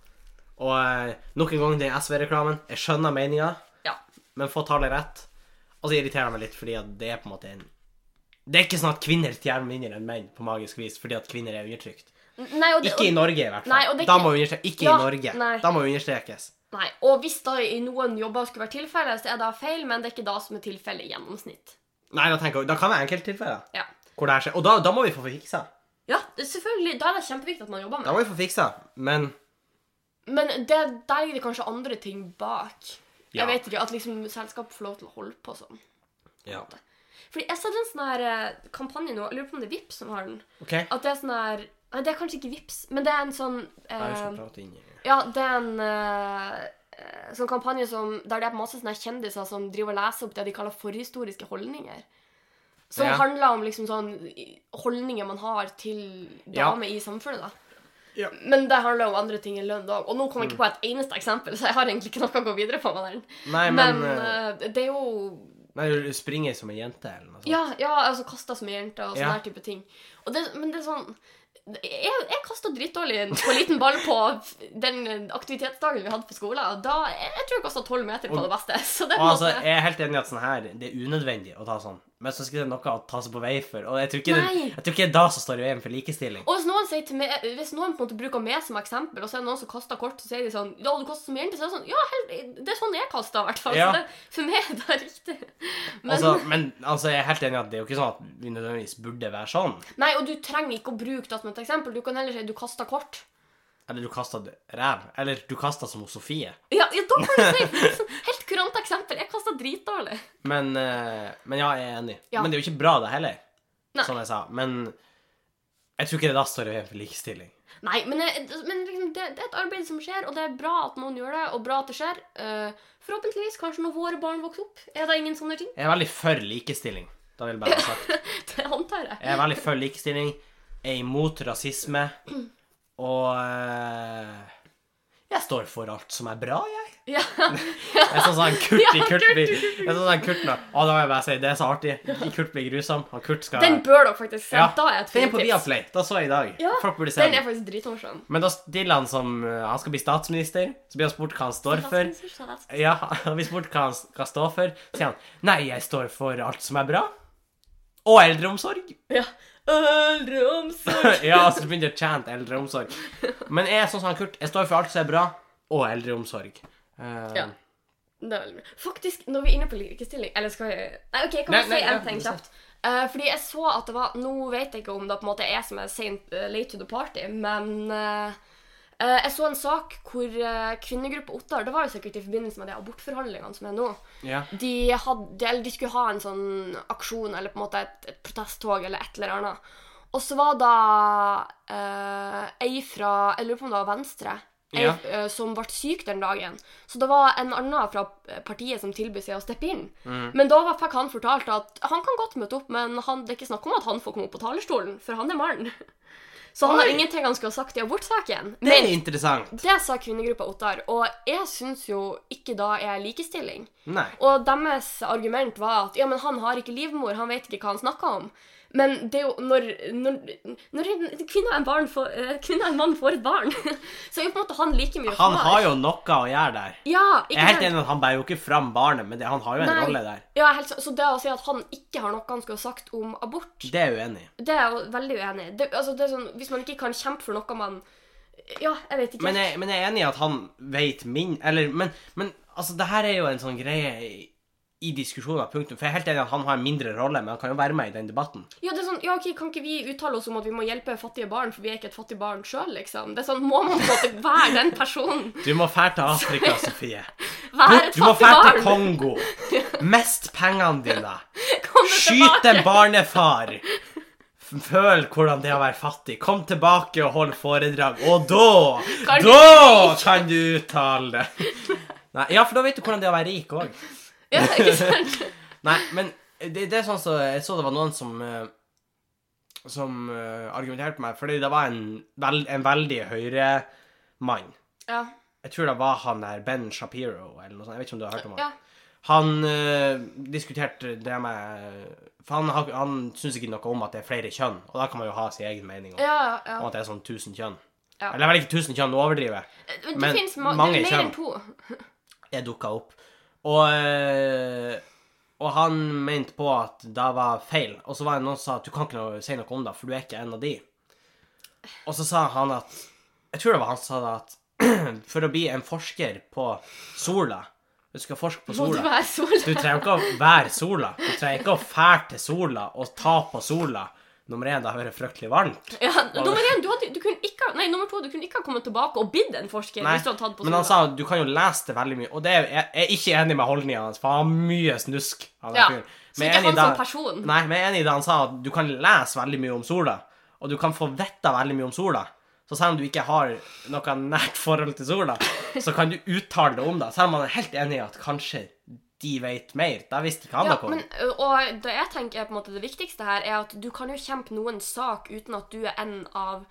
Speaker 2: Og eh, nok en gang den SV-reklamen. Jeg skjønner meninga,
Speaker 1: Ja.
Speaker 2: men få tallet rett. Og så irriterer det meg litt fordi at det er på en måte en Det er ikke sånn at kvinner tjener mindre enn menn på magisk vis fordi at kvinner er undertrykt.
Speaker 1: N- Nei, og det,
Speaker 2: Ikke i Norge, i hvert fall.
Speaker 1: Nei, og det er
Speaker 2: Da
Speaker 1: ikke-
Speaker 2: må vi understreke. Ikke
Speaker 1: Ja,
Speaker 2: i Norge.
Speaker 1: nei.
Speaker 2: Da må vi understrekes.
Speaker 1: og, nei, og hvis da i noen jobber skulle være tilfellet, så er det feil, men det er ikke da som er tilfellet i gjennomsnitt.
Speaker 2: Nei, da tenker jeg, da kan det være enkelttilfeller
Speaker 1: Ja.
Speaker 2: hvor det her skjer. Og da, da må vi få fiksa.
Speaker 1: ja, det- selvfølgelig. Da er det kjempeviktig at man jobber med
Speaker 2: Da må vi få fiksa. Men
Speaker 1: det. Men det, der ligger det kanskje andre ting bak.
Speaker 2: Ja.
Speaker 1: Jeg vet ikke, At liksom selskap får lov til å holde på sånn.
Speaker 2: ja.
Speaker 1: Fordi jeg har sett en sånn her eh, kampanje nå, jeg lurer på om det er Vips som har den.
Speaker 2: OK. Da
Speaker 1: At det er sånn her Nei, det er kanskje ikke Vips, men det er en sånn eh,
Speaker 2: er vi skal prate inn i-
Speaker 1: Ja, det er en eh, eh, sånn kampanje som, der det er masse sånne her kjendiser som driver og leser opp det de kaller forhistoriske holdninger. Som
Speaker 2: Ja.
Speaker 1: handler om liksom sånn i- holdninger man har til
Speaker 2: Ja.
Speaker 1: damer i samfunnet. da.
Speaker 2: Ja.
Speaker 1: Men det handler om andre ting enn lønn òg. Og nå kom jeg
Speaker 2: Mm.
Speaker 1: ikke på et eneste eksempel, så jeg har egentlig ikke noe å gå videre på. med den.
Speaker 2: Nei, men,
Speaker 1: Men
Speaker 2: eh,
Speaker 1: eh, det er jo
Speaker 2: Nei, du springer som ei jente, eller noe sånt.
Speaker 1: ja, ja, altså kasta som ei jente og sånne
Speaker 2: Ja.
Speaker 1: her type ting. Og det, men det er sånn Jeg, jeg kasta drittdårlig på en liten ball på den aktivitetsdagen vi hadde på skolen. Og da, jeg, jeg tror jeg kasta tolv meter på
Speaker 2: Og-
Speaker 1: det beste. Så det
Speaker 2: Og altså,
Speaker 1: måtte
Speaker 2: jeg er helt enig i at sånn her, det er unødvendig å ta sånn. Men så skal det noe å ta seg på vei for. Og jeg tror ikke, det,
Speaker 1: Nei.
Speaker 2: jeg tror ikke det er da som står i veien for likestilling.
Speaker 1: og hvis noen, sier til meg, hvis noen på en måte bruker meg som eksempel, og så er det noen som kaster kort, så sier de sånn Ja, du kaster som jente. Så er det sånn Ja, hel- det er sånn jeg kaster, i hvert fall.
Speaker 2: Ja.
Speaker 1: Så det, for meg er det riktig. Men,
Speaker 2: Altså, men altså, jeg er helt enig i at det er jo ikke sånn at vi nødvendigvis burde være sånn.
Speaker 1: Nei, og du trenger ikke å bruke det som et eksempel. Du kan heller si du kaster kort.
Speaker 2: Eller du kasta ræv. Eller du kasta som hos Sofie.
Speaker 1: Ja, ja, da kan du si for det er et sånn Helt kurant eksempel. Jeg kasta dritdårlig.
Speaker 2: Men, eh, men ja, jeg er enig.
Speaker 1: Ja.
Speaker 2: Men det er jo ikke bra, det heller.
Speaker 1: Nei.
Speaker 2: Som jeg sa. Men jeg tror ikke det da står i veien for likestilling.
Speaker 1: Nei, men, jeg- men liksom, det, det er et arbeid som skjer, og det er bra at noen gjør det, og bra at det skjer. Eh, forhåpentligvis, kanskje når våre barn vokser opp, er det ingen sånne ting.
Speaker 2: Jeg er veldig for likestilling. Da vil jeg bare ha sagt.
Speaker 1: Det antar jeg.
Speaker 2: Jeg er veldig for likestilling. Jeg er imot rasisme. Og eh, jeg står for alt som er bra, jeg.
Speaker 1: Ja.
Speaker 2: Jeg er sånn sånn Kurt i
Speaker 1: Ja,
Speaker 2: Kurt
Speaker 1: Kurt
Speaker 2: blir Jeg er sånn sånn Kurt nå. Å, da må jeg bare si, det er så artig. Kurt blir grusom. Han Kurt skal
Speaker 1: Den bør dere faktisk se.
Speaker 2: Ja.
Speaker 1: Da er et
Speaker 2: Den er på
Speaker 1: filmtips.
Speaker 2: Viaplay. Da så jeg i dag.
Speaker 1: Ja,
Speaker 2: Folk burde se
Speaker 1: Den
Speaker 2: den.
Speaker 1: er faktisk dritmorsom.
Speaker 2: Men da stiller han som eh, Han skal bli statsminister. Så blir han spurt hva han står for. Ja, han blir spurt hva han skal stå for. Så sier han nei, jeg står for alt som er bra. Og eldreomsorg.
Speaker 1: Ja. Eldreomsorg.
Speaker 2: ja, så begynner jeg å chante eldreomsorg. Men jeg er sånn som han Kurt. Jeg står for alt som er bra, og eldreomsorg. Eh,
Speaker 1: Ja. Det er veldig bra. Faktisk, når vi er inne på likestilling Eller skal vi Nei, OK, jeg kan
Speaker 2: Nei,
Speaker 1: bare
Speaker 2: nei,
Speaker 1: si
Speaker 2: ja,
Speaker 1: én ting
Speaker 2: si.
Speaker 1: kjapt. Eh, fordi jeg så at det var Nå vet jeg ikke om det på en måte er jeg som er sent, eh, late to the party, men eh, eh, jeg så en sak hvor uh, kvinnegruppa Ottar Det var jo sikkert i forbindelse med de abortforhandlingene som er nå.
Speaker 2: ja.
Speaker 1: De, hadde, eller de skulle ha en sånn aksjon eller på en måte et, et protesttog eller et eller annet. Og så var da eh, ei fra Jeg lurer på om det var Venstre. Ei
Speaker 2: Ja.
Speaker 1: eh, som ble syk den dagen. Så det var en annen fra eh, partiet som tilbød seg å steppe inn.
Speaker 2: Mm.
Speaker 1: Men da var- fikk han fortalt at han kan godt møte opp, men han, det er ikke snakk om at han får komme opp på talerstolen, for han er mann. Så han har
Speaker 2: Oi!
Speaker 1: ingenting han skulle ha sagt i abortsaken.
Speaker 2: Det er
Speaker 1: Men
Speaker 2: interessant.
Speaker 1: det sa kvinnegruppa Ottar, og jeg syns jo ikke da er likestilling.
Speaker 2: Nei.
Speaker 1: Og deres argument var at ja, men han har ikke livmor, han vet ikke hva han snakker om. Men det er jo når, når, når en kvinne og en, barn får, eh, kvinne og en mann får et barn, så er jo på en måte han like mye
Speaker 2: Han har jo noe å gjøre der.
Speaker 1: Ja,
Speaker 2: Jeg
Speaker 1: ikke
Speaker 2: er helt
Speaker 1: sant?
Speaker 2: enig i at han bærer jo ikke fram barnet, men det, han har jo en
Speaker 1: Nei.
Speaker 2: rolle der.
Speaker 1: Ja, helt, sant. så det å si at han ikke har noe han skulle ha sagt om abort,
Speaker 2: Det er jeg uenig i.
Speaker 1: det er jeg jo veldig uenig i. Det- Altså, det er sånn, hvis man ikke kan kjempe for noe man Ja, jeg vet ikke.
Speaker 2: Men jeg, men jeg er enig i at han vet min Eller, men, men altså, det her er jo en sånn greie i, i diskusjoner, punktum. For jeg er helt enig i at han har en mindre rolle, men han kan jo være med i den debatten.
Speaker 1: Ja, det er sånn, ja, ok, Kan ikke vi uttale oss om at vi må hjelpe fattige barn, for vi er ikke et fattig barn sjøl, liksom? Det er sånn, Må man på en måte være den personen?
Speaker 2: Du må fære til Afrika, Sofie.
Speaker 1: Være et
Speaker 2: Du må
Speaker 1: fattig
Speaker 2: fære
Speaker 1: barn?
Speaker 2: til Kongo. Mest pengene dine.
Speaker 1: Komme
Speaker 2: Skyt en
Speaker 1: tilbake?
Speaker 2: barnefar. Føl hvordan det er å være fattig. Kom tilbake og hold foredrag, og da
Speaker 1: Kan du
Speaker 2: Da kan du uttale det. Nei, ja, for da vet du hvordan det er å være rik òg.
Speaker 1: Ja, ikke sant?
Speaker 2: Nei, men det, det er sånn så Jeg så det var noen som eh, Som eh, argumenterte meg, fordi det var en, vel, en veldig høyre mann.
Speaker 1: Ja.
Speaker 2: Jeg tror det var han der Ben Shapiro, eller noe sånt. Jeg vet ikke om du har hørt om han.
Speaker 1: ja.
Speaker 2: Han eh, diskuterte det med For han, har- han syns ikke noe om at det er flere kjønn, og da kan man jo ha sin egen mening om,
Speaker 1: Ja, ja.
Speaker 2: om at det er sånn 1000 kjønn.
Speaker 1: Ja.
Speaker 2: Eller vel ikke 1000 kjønn, nå overdriver jeg.
Speaker 1: Det
Speaker 2: Men
Speaker 1: finnes ma
Speaker 2: mange
Speaker 1: det er mer
Speaker 2: kjønn.
Speaker 1: enn to.
Speaker 2: Jeg dukka opp. Og, eh, og han mente på at det var feil, og så var det noen som sa at du kan ikke noe, si noe om det, for du er ikke en av de. Og så sa han at Jeg tror det var han som sa det, at for å bli en forsker på sola Du skal forske på
Speaker 1: Må du
Speaker 2: sola.
Speaker 1: være sol?
Speaker 2: Du trenger ikke å være sola. Du trenger ikke å fære til sola og ta på sola. Nummer én, da hører det fryktelig varmt.
Speaker 1: Ja, nummer én, du, hadde, du kunne ikke ha- Nei, nummer to, du kunne ikke ha kommet tilbake og bidd en forsker
Speaker 2: Nei,
Speaker 1: hvis du hadde tatt på
Speaker 2: men han sa at du kan jo lese det veldig mye, og det er, jeg jeg er ikke enig med holdninga hans, for han har mye snusk. Han der
Speaker 1: Ja,
Speaker 2: fyren.
Speaker 1: så
Speaker 2: Men
Speaker 1: ikke
Speaker 2: jeg er enig
Speaker 1: han
Speaker 2: i det-
Speaker 1: som person.
Speaker 2: Nei, men jeg er enig i det han sa, at du kan lese veldig mye om sola, og du kan få vite veldig mye om sola. Så selv om du ikke har noe nært forhold til sola, så kan du uttale det om det. Selv om han er helt enig i at kanskje de vet mer. Det visste ikke han
Speaker 1: Ja,
Speaker 2: noe om.
Speaker 1: men, ø, og det jeg tenker er på en måte det viktigste her, er at du kan jo kjempe noen sak uten at du er en av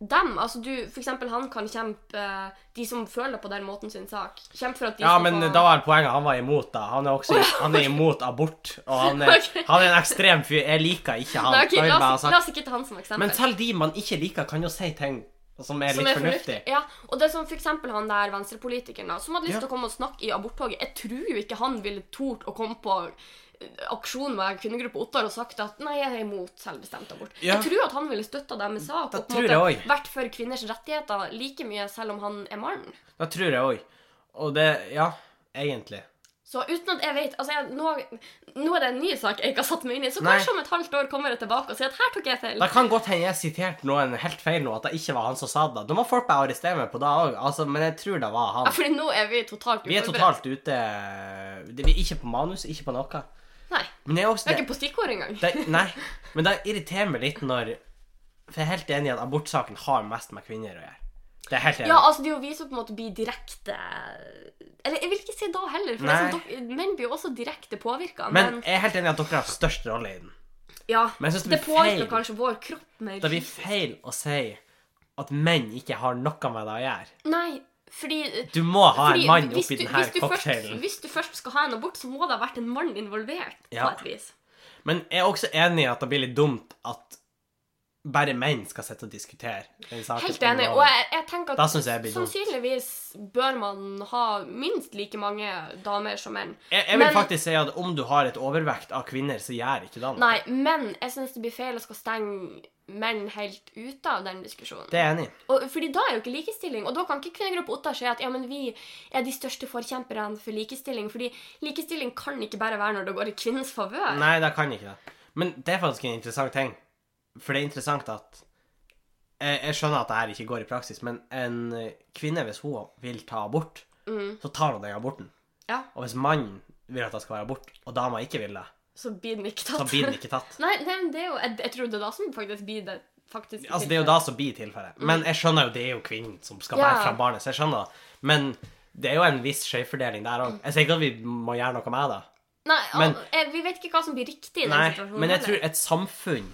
Speaker 1: dem. Altså du, for eksempel han kan kjempe eh, de som føler på den måten sin sak. Kjempe for at de
Speaker 2: Ja,
Speaker 1: skal
Speaker 2: men
Speaker 1: få...
Speaker 2: da var poenget han var imot, da. Han er også han er imot abort. Og han er,
Speaker 1: Ok.
Speaker 2: han er en ekstrem fyr. Jeg liker ikke han.
Speaker 1: Nei, ok,
Speaker 2: Jeg vil
Speaker 1: la,
Speaker 2: bare ha
Speaker 1: oss,
Speaker 2: sagt-
Speaker 1: la oss ikke ta han som eksempel.
Speaker 2: Men selv de man ikke liker, kan jo si ting som er
Speaker 1: Som
Speaker 2: litt
Speaker 1: er
Speaker 2: fornuftig.
Speaker 1: Ja, og det er som for eksempel han der venstrepolitikeren da, som hadde lyst
Speaker 2: Ja.
Speaker 1: til å komme og snakke i aborttoget. Jeg tror jo ikke han ville tort å komme på eh, aksjon med kvinnegruppa Ottar og sagt at nei, jeg er imot selvbestemt abort.
Speaker 2: Ja.
Speaker 1: Jeg tror at han ville støtta deres sak
Speaker 2: Det
Speaker 1: og på en
Speaker 2: tror jeg
Speaker 1: måte
Speaker 2: også.
Speaker 1: vært for kvinners rettigheter like mye selv om han er mann.
Speaker 2: Det tror jeg òg. Og det Ja, egentlig.
Speaker 1: Så uten at jeg vet altså jeg, nå, nå er det en ny sak jeg ikke har satt meg inn i, så
Speaker 2: Nei.
Speaker 1: kanskje om et halvt år kommer jeg tilbake og sier at her tok jeg feil.
Speaker 2: Det kan godt hende jeg siterte noen helt feil nå, at det ikke var han som sa det. Da må folk bare arrestere meg på det òg, altså, men jeg tror det var
Speaker 1: Ja,
Speaker 2: han.
Speaker 1: fordi nå er vi totalt
Speaker 2: Vi er
Speaker 1: uforberedt.
Speaker 2: totalt ute det- Vi er ikke på manus, ikke på noe.
Speaker 1: Nei.
Speaker 2: Men jeg er også
Speaker 1: Vi er ikke på stikkord engang.
Speaker 2: det, nei, men det irriterer meg litt når For jeg er helt enig i at abortsaken har mest med kvinner å gjøre. Det er jeg helt enig. i.
Speaker 1: Ja, altså det er jo vi som på en måte blir direkte Eller jeg vil ikke si da heller, for det er
Speaker 2: Nei.
Speaker 1: sånn, dok- menn blir jo også direkte påvirka.
Speaker 2: men jeg er helt enig i at dere har størst rolle i den.
Speaker 1: ja,
Speaker 2: men jeg synes det
Speaker 1: det
Speaker 2: blir
Speaker 1: påvirker
Speaker 2: feil.
Speaker 1: kanskje vår kropp mer.
Speaker 2: Det blir feil å si at menn ikke har noe med det å gjøre.
Speaker 1: Nei, fordi eh,
Speaker 2: Du må ha
Speaker 1: fordi
Speaker 2: en mann
Speaker 1: hvis
Speaker 2: oppi
Speaker 1: du-
Speaker 2: denne
Speaker 1: hvis du først-
Speaker 2: cocktailen.
Speaker 1: Hvis du først skal ha en abort, så må det ha vært en mann involvert
Speaker 2: Ja.
Speaker 1: på et vis.
Speaker 2: Men jeg er også enig i at det blir litt dumt at bare menn skal sitte og diskutere den saken.
Speaker 1: Helt enig. Og
Speaker 2: Og
Speaker 1: jeg, jeg tenker
Speaker 2: Da
Speaker 1: at
Speaker 2: synes jeg det blir dumt.
Speaker 1: sannsynligvis bør man ha minst like mange damer som menn.
Speaker 2: jeg, jeg vil
Speaker 1: men-
Speaker 2: faktisk si at om du har et overvekt av kvinner, så gjør ikke det noe.
Speaker 1: Nei, men jeg syns det blir feil å skal stenge menn helt ute av den diskusjonen.
Speaker 2: Det er jeg enig i.
Speaker 1: Og, fordi da er jo ikke likestilling, og da kan ikke kvinnegruppa Ottar si at ja, men vi er de største forkjemperne for likestilling, fordi likestilling kan ikke bare være når det går i kvinnens favør.
Speaker 2: Nei, det kan ikke det. Men det er faktisk en interessant ting. For det er interessant at Jeg, jeg skjønner at det her ikke går i praksis, men en eh, kvinne, hvis hun vil ta abort, så tar hun den
Speaker 1: Mm.
Speaker 2: aborten.
Speaker 1: Ja,
Speaker 2: Og hvis mannen vil at det skal være abort, og dama ikke vil det,
Speaker 1: så blir den ikke
Speaker 2: så
Speaker 1: tatt.
Speaker 2: blir den ikke tatt.
Speaker 1: Nei, nei, men det er jo, jeg, jeg tror det er da som faktisk blir det. Faktisk
Speaker 2: Altså, Det er jo da som blir tilfellet. Men jeg skjønner jo det er jo kvinnen som skal
Speaker 1: Mm. Ja.
Speaker 2: være fra barnet, så jeg skjønner det. Men det er jo en viss skjevfordeling der
Speaker 1: Mm.
Speaker 2: òg. Jeg sier ikke at vi må gjøre noe med det.
Speaker 1: Nei,
Speaker 2: men-
Speaker 1: al- jeg, vi vet ikke hva som blir riktig i den
Speaker 2: Nei,
Speaker 1: situasjonen.
Speaker 2: men jeg
Speaker 1: heller.
Speaker 2: tror et samfunn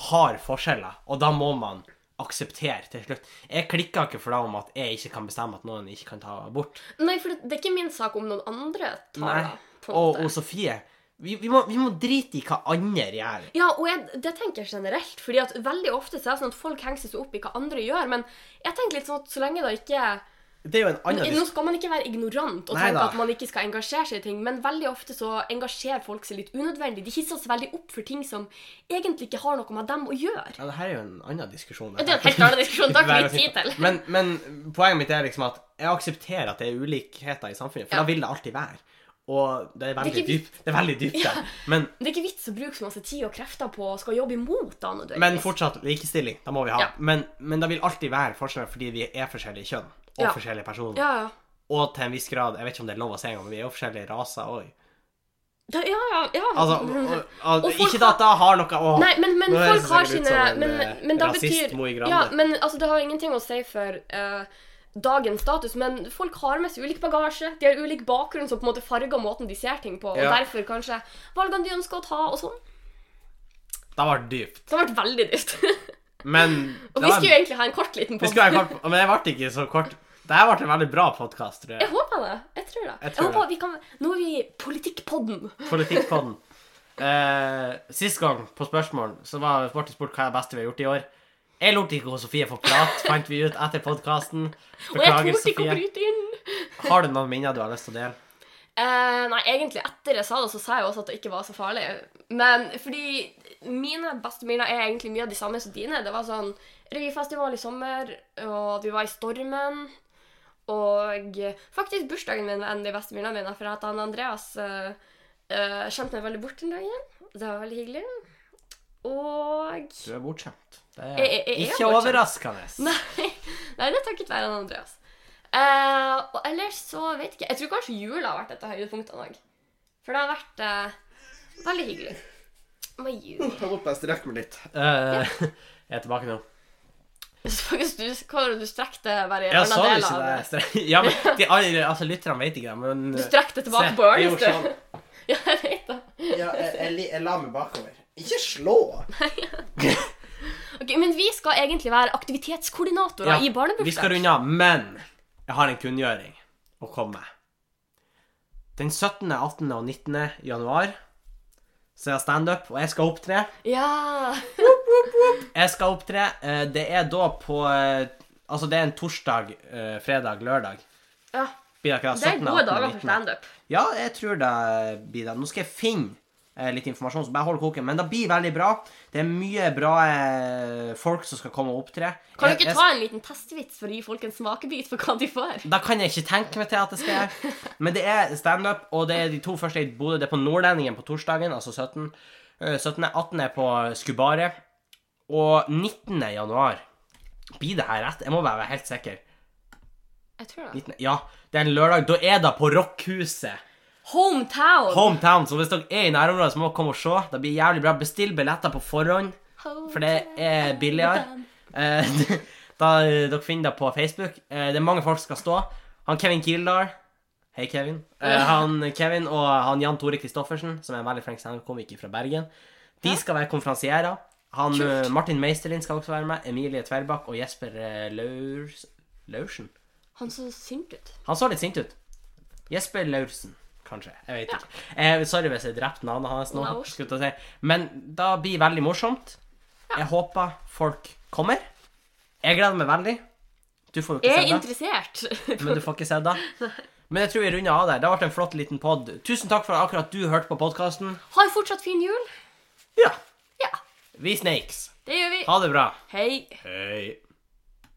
Speaker 2: har forskjeller, og da må man akseptere til slutt. Jeg klikka ikke for det om at jeg ikke kan bestemme at noen ikke kan ta abort.
Speaker 1: Nei, for det er ikke min sak om noen andre tar
Speaker 2: Nei.
Speaker 1: det. på en
Speaker 2: Og,
Speaker 1: måte.
Speaker 2: og Sofie vi, vi, må, vi må drite i hva andre gjør.
Speaker 1: Ja, og jeg, det tenker jeg generelt, fordi at veldig ofte så er det sånn at folk henger seg så opp i hva andre gjør, men jeg tenker litt sånn at så lenge da ikke
Speaker 2: Det er jo en annen
Speaker 1: Nå skal man ikke være ignorant og
Speaker 2: Nei
Speaker 1: tenke
Speaker 2: da.
Speaker 1: at man ikke skal engasjere seg i ting, men veldig ofte så engasjerer folk seg litt unødvendig. De hisser seg veldig opp for ting som egentlig ikke har noe med dem å gjøre.
Speaker 2: Ja, det her er jo en annen diskusjon.
Speaker 1: Det er en helt annen diskusjon. Det har ikke vi tid til.
Speaker 2: Men, men poenget mitt er liksom at jeg aksepterer at det er ulikheter i samfunnet, for
Speaker 1: Ja.
Speaker 2: da vil det alltid være. Og det er veldig
Speaker 1: ikke vi-
Speaker 2: dypt. Det er veldig dypt, det. Men,
Speaker 1: Det er ikke vits å bruke så masse tid og krefter på å skal jobbe imot da, nødvendigvis.
Speaker 2: men fortsatt likestilling. Det må vi ha.
Speaker 1: Ja.
Speaker 2: Men, men det vil alltid være forskjeller fordi vi er forskjellige kjønn. Og
Speaker 1: Ja.
Speaker 2: forskjellige personer.
Speaker 1: Ja, ja.
Speaker 2: Og til en viss grad, jeg vet ikke om det er lov å si engang, men vi er jo forskjellige raser òg.
Speaker 1: Da, ja, ja, ja.
Speaker 2: Altså, og, og,
Speaker 1: Og folk
Speaker 2: ikke da at det har noe å
Speaker 1: Nei, men, men
Speaker 2: Nå
Speaker 1: folk
Speaker 2: høres det
Speaker 1: har
Speaker 2: sikkert ut
Speaker 1: sine
Speaker 2: som en,
Speaker 1: men,
Speaker 2: eh,
Speaker 1: men da
Speaker 2: rasist,
Speaker 1: betyr,
Speaker 2: Mo i Grande.
Speaker 1: ja, men altså, Det har ingenting å si for eh, dagens status, men folk har med seg ulik bagasje. De har ulik bakgrunn som på en måte farger måten de ser ting på, og
Speaker 2: Ja.
Speaker 1: derfor kanskje valgene de ønsker å ta, og sånn.
Speaker 2: Det var dypt.
Speaker 1: Så det har vært veldig dyrt.
Speaker 2: Men
Speaker 1: og vi
Speaker 2: det var-
Speaker 1: skulle jo egentlig ha en kort liten
Speaker 2: vi
Speaker 1: post.
Speaker 2: skulle ha en kort, men det ble ikke så kort. Det her ble en veldig bra podkast, tror jeg.
Speaker 1: Jeg håper det. Jeg tror det.
Speaker 2: Jeg
Speaker 1: Jeg,
Speaker 2: tror
Speaker 1: håper vi kan Nå er vi i Politikkpodden.
Speaker 2: Politikkpodden. Eh, sist gang på spørsmål så var ble det spurt hva er det beste vi har gjort i år. Jeg lot ikke hun Sofie få prat, fant vi ut etter podkasten.
Speaker 1: Og jeg
Speaker 2: Beklager,
Speaker 1: torde ikke å
Speaker 2: Sofie.
Speaker 1: bryte inn.
Speaker 2: Har du noen minner du har lyst til å dele?
Speaker 1: Eh, nei, egentlig etter jeg sa det, så sa jeg jo også at det ikke var så farlig. Men fordi mine beste minner er egentlig mye av de samme som dine. Det var sånn røyefestival i sommer, og at vi var i stormen. Og faktisk bursdagen min var en av de beste minnene mine, for at han Andreas uh, kjente meg veldig bort den dagen. Det var veldig hyggelig. Og
Speaker 2: Du er bortskjemt. Det er
Speaker 1: Jeg- jeg- jeg er
Speaker 2: ikke
Speaker 1: bortskjemt.
Speaker 2: overraskende.
Speaker 1: Nei, nei det er takket være han Andreas. Eh, og ellers så vet ikke Jeg tror kanskje jula har vært et av høydepunktene òg. For det har vært eh, veldig hyggelig. Hva jul?
Speaker 2: Ta opp jeg strekk meg litt. Eh, jeg er tilbake nå.
Speaker 1: Så faktisk du, hva var det du strekte bare i en
Speaker 2: Jeg
Speaker 1: annen
Speaker 2: så
Speaker 1: del
Speaker 2: ikke
Speaker 1: av
Speaker 2: det.
Speaker 1: det?
Speaker 2: jeg strek- Ja, men de andre, altså, lytterne vet ikke det, men eh,
Speaker 1: Du strekte tilbake
Speaker 2: Se,
Speaker 1: på
Speaker 2: jeg
Speaker 1: Ørn i
Speaker 2: gjorde
Speaker 1: sted.
Speaker 2: sånn.
Speaker 1: Ja, jeg vet det.
Speaker 2: Ja, jeg, jeg, jeg la meg bakover. Ikke slå!
Speaker 1: Ok, men vi skal egentlig være aktivitetskoordinatorer i
Speaker 2: Vi skal
Speaker 1: barnebursdag.
Speaker 2: runde av, men jeg har en kunngjøring å komme med. Den 17., 18. og 19. januar så er jeg standup, og jeg skal opptre.
Speaker 1: Ja.
Speaker 2: Jeg skal opptre. eh, Det er da på eh, Altså, det er en torsdag, eh, fredag, lørdag.
Speaker 1: ja.
Speaker 2: Blir det ikke
Speaker 1: Det er
Speaker 2: 17.,
Speaker 1: gode
Speaker 2: 18. og
Speaker 1: dager for
Speaker 2: 19.?
Speaker 1: standup.
Speaker 2: Ja, jeg tror det blir det. Nå skal jeg finne eh, litt informasjon, så bare hold koken. Men det blir veldig bra. Det er mye bra eh, folk som skal komme og opptre.
Speaker 1: Kan
Speaker 2: Jeg-
Speaker 1: du ikke
Speaker 2: jeg-
Speaker 1: ta en liten testvits for å gi folk en smakebit for hva de får?
Speaker 2: Da kan jeg ikke tenke meg til at det skal gjøre. Men det er standup, og det er de to første i Bodø. Det er på Nordlendingen på torsdagen, altså 17. eh, 17. 18. er på Skubaret. Og 19. januar Blir det her rett? Jeg må bare være helt sikker.
Speaker 1: Jeg tror det.
Speaker 2: 19. Ja, det er en lørdag. Da er det på Rockhuset.
Speaker 1: Hometown.
Speaker 2: Hometown. Så hvis dere er i nærområdet, så må dere komme og se. Det blir jævlig bra. Bestill billetter på forhånd, for det er billigere. Eh, da, eh, dere finner det på Facebook. Eh, det er mange folk som skal stå. Han Kevin Kildahl Hei, Kevin. Eh, han Kevin og han Jan Tore Christoffersen, som er en veldig flink standup-komiker fra Bergen. De skal være konferansierer. Han
Speaker 1: Kult.
Speaker 2: eh, Martin Meisterlin skal også være med. Emilie Tverbakk og Jesper eh, Laurs... Laursen?
Speaker 1: Han så sint ut.
Speaker 2: Han så litt sint ut. Jesper Laursen, kanskje. Jeg vet ikke. Eh, sorry hvis jeg drepte navnet hans nå.
Speaker 1: Laursen.
Speaker 2: skulle jeg til å si. Men det blir veldig morsomt. Jeg håper folk kommer. Jeg gleder meg veldig. Du får jo
Speaker 1: Jeg
Speaker 2: ikke
Speaker 1: er
Speaker 2: se det.
Speaker 1: interessert.
Speaker 2: Men du får ikke se det. Men jeg tror vi runder av der. Det ble en flott liten pod. Tusen takk for at akkurat du hørte på podkasten.
Speaker 1: Ha en fortsatt fin jul.
Speaker 2: Ja.
Speaker 1: Ja,
Speaker 2: Vi snakes.
Speaker 1: det gjør vi.
Speaker 2: Ha det bra.
Speaker 1: Hei.
Speaker 2: Hei.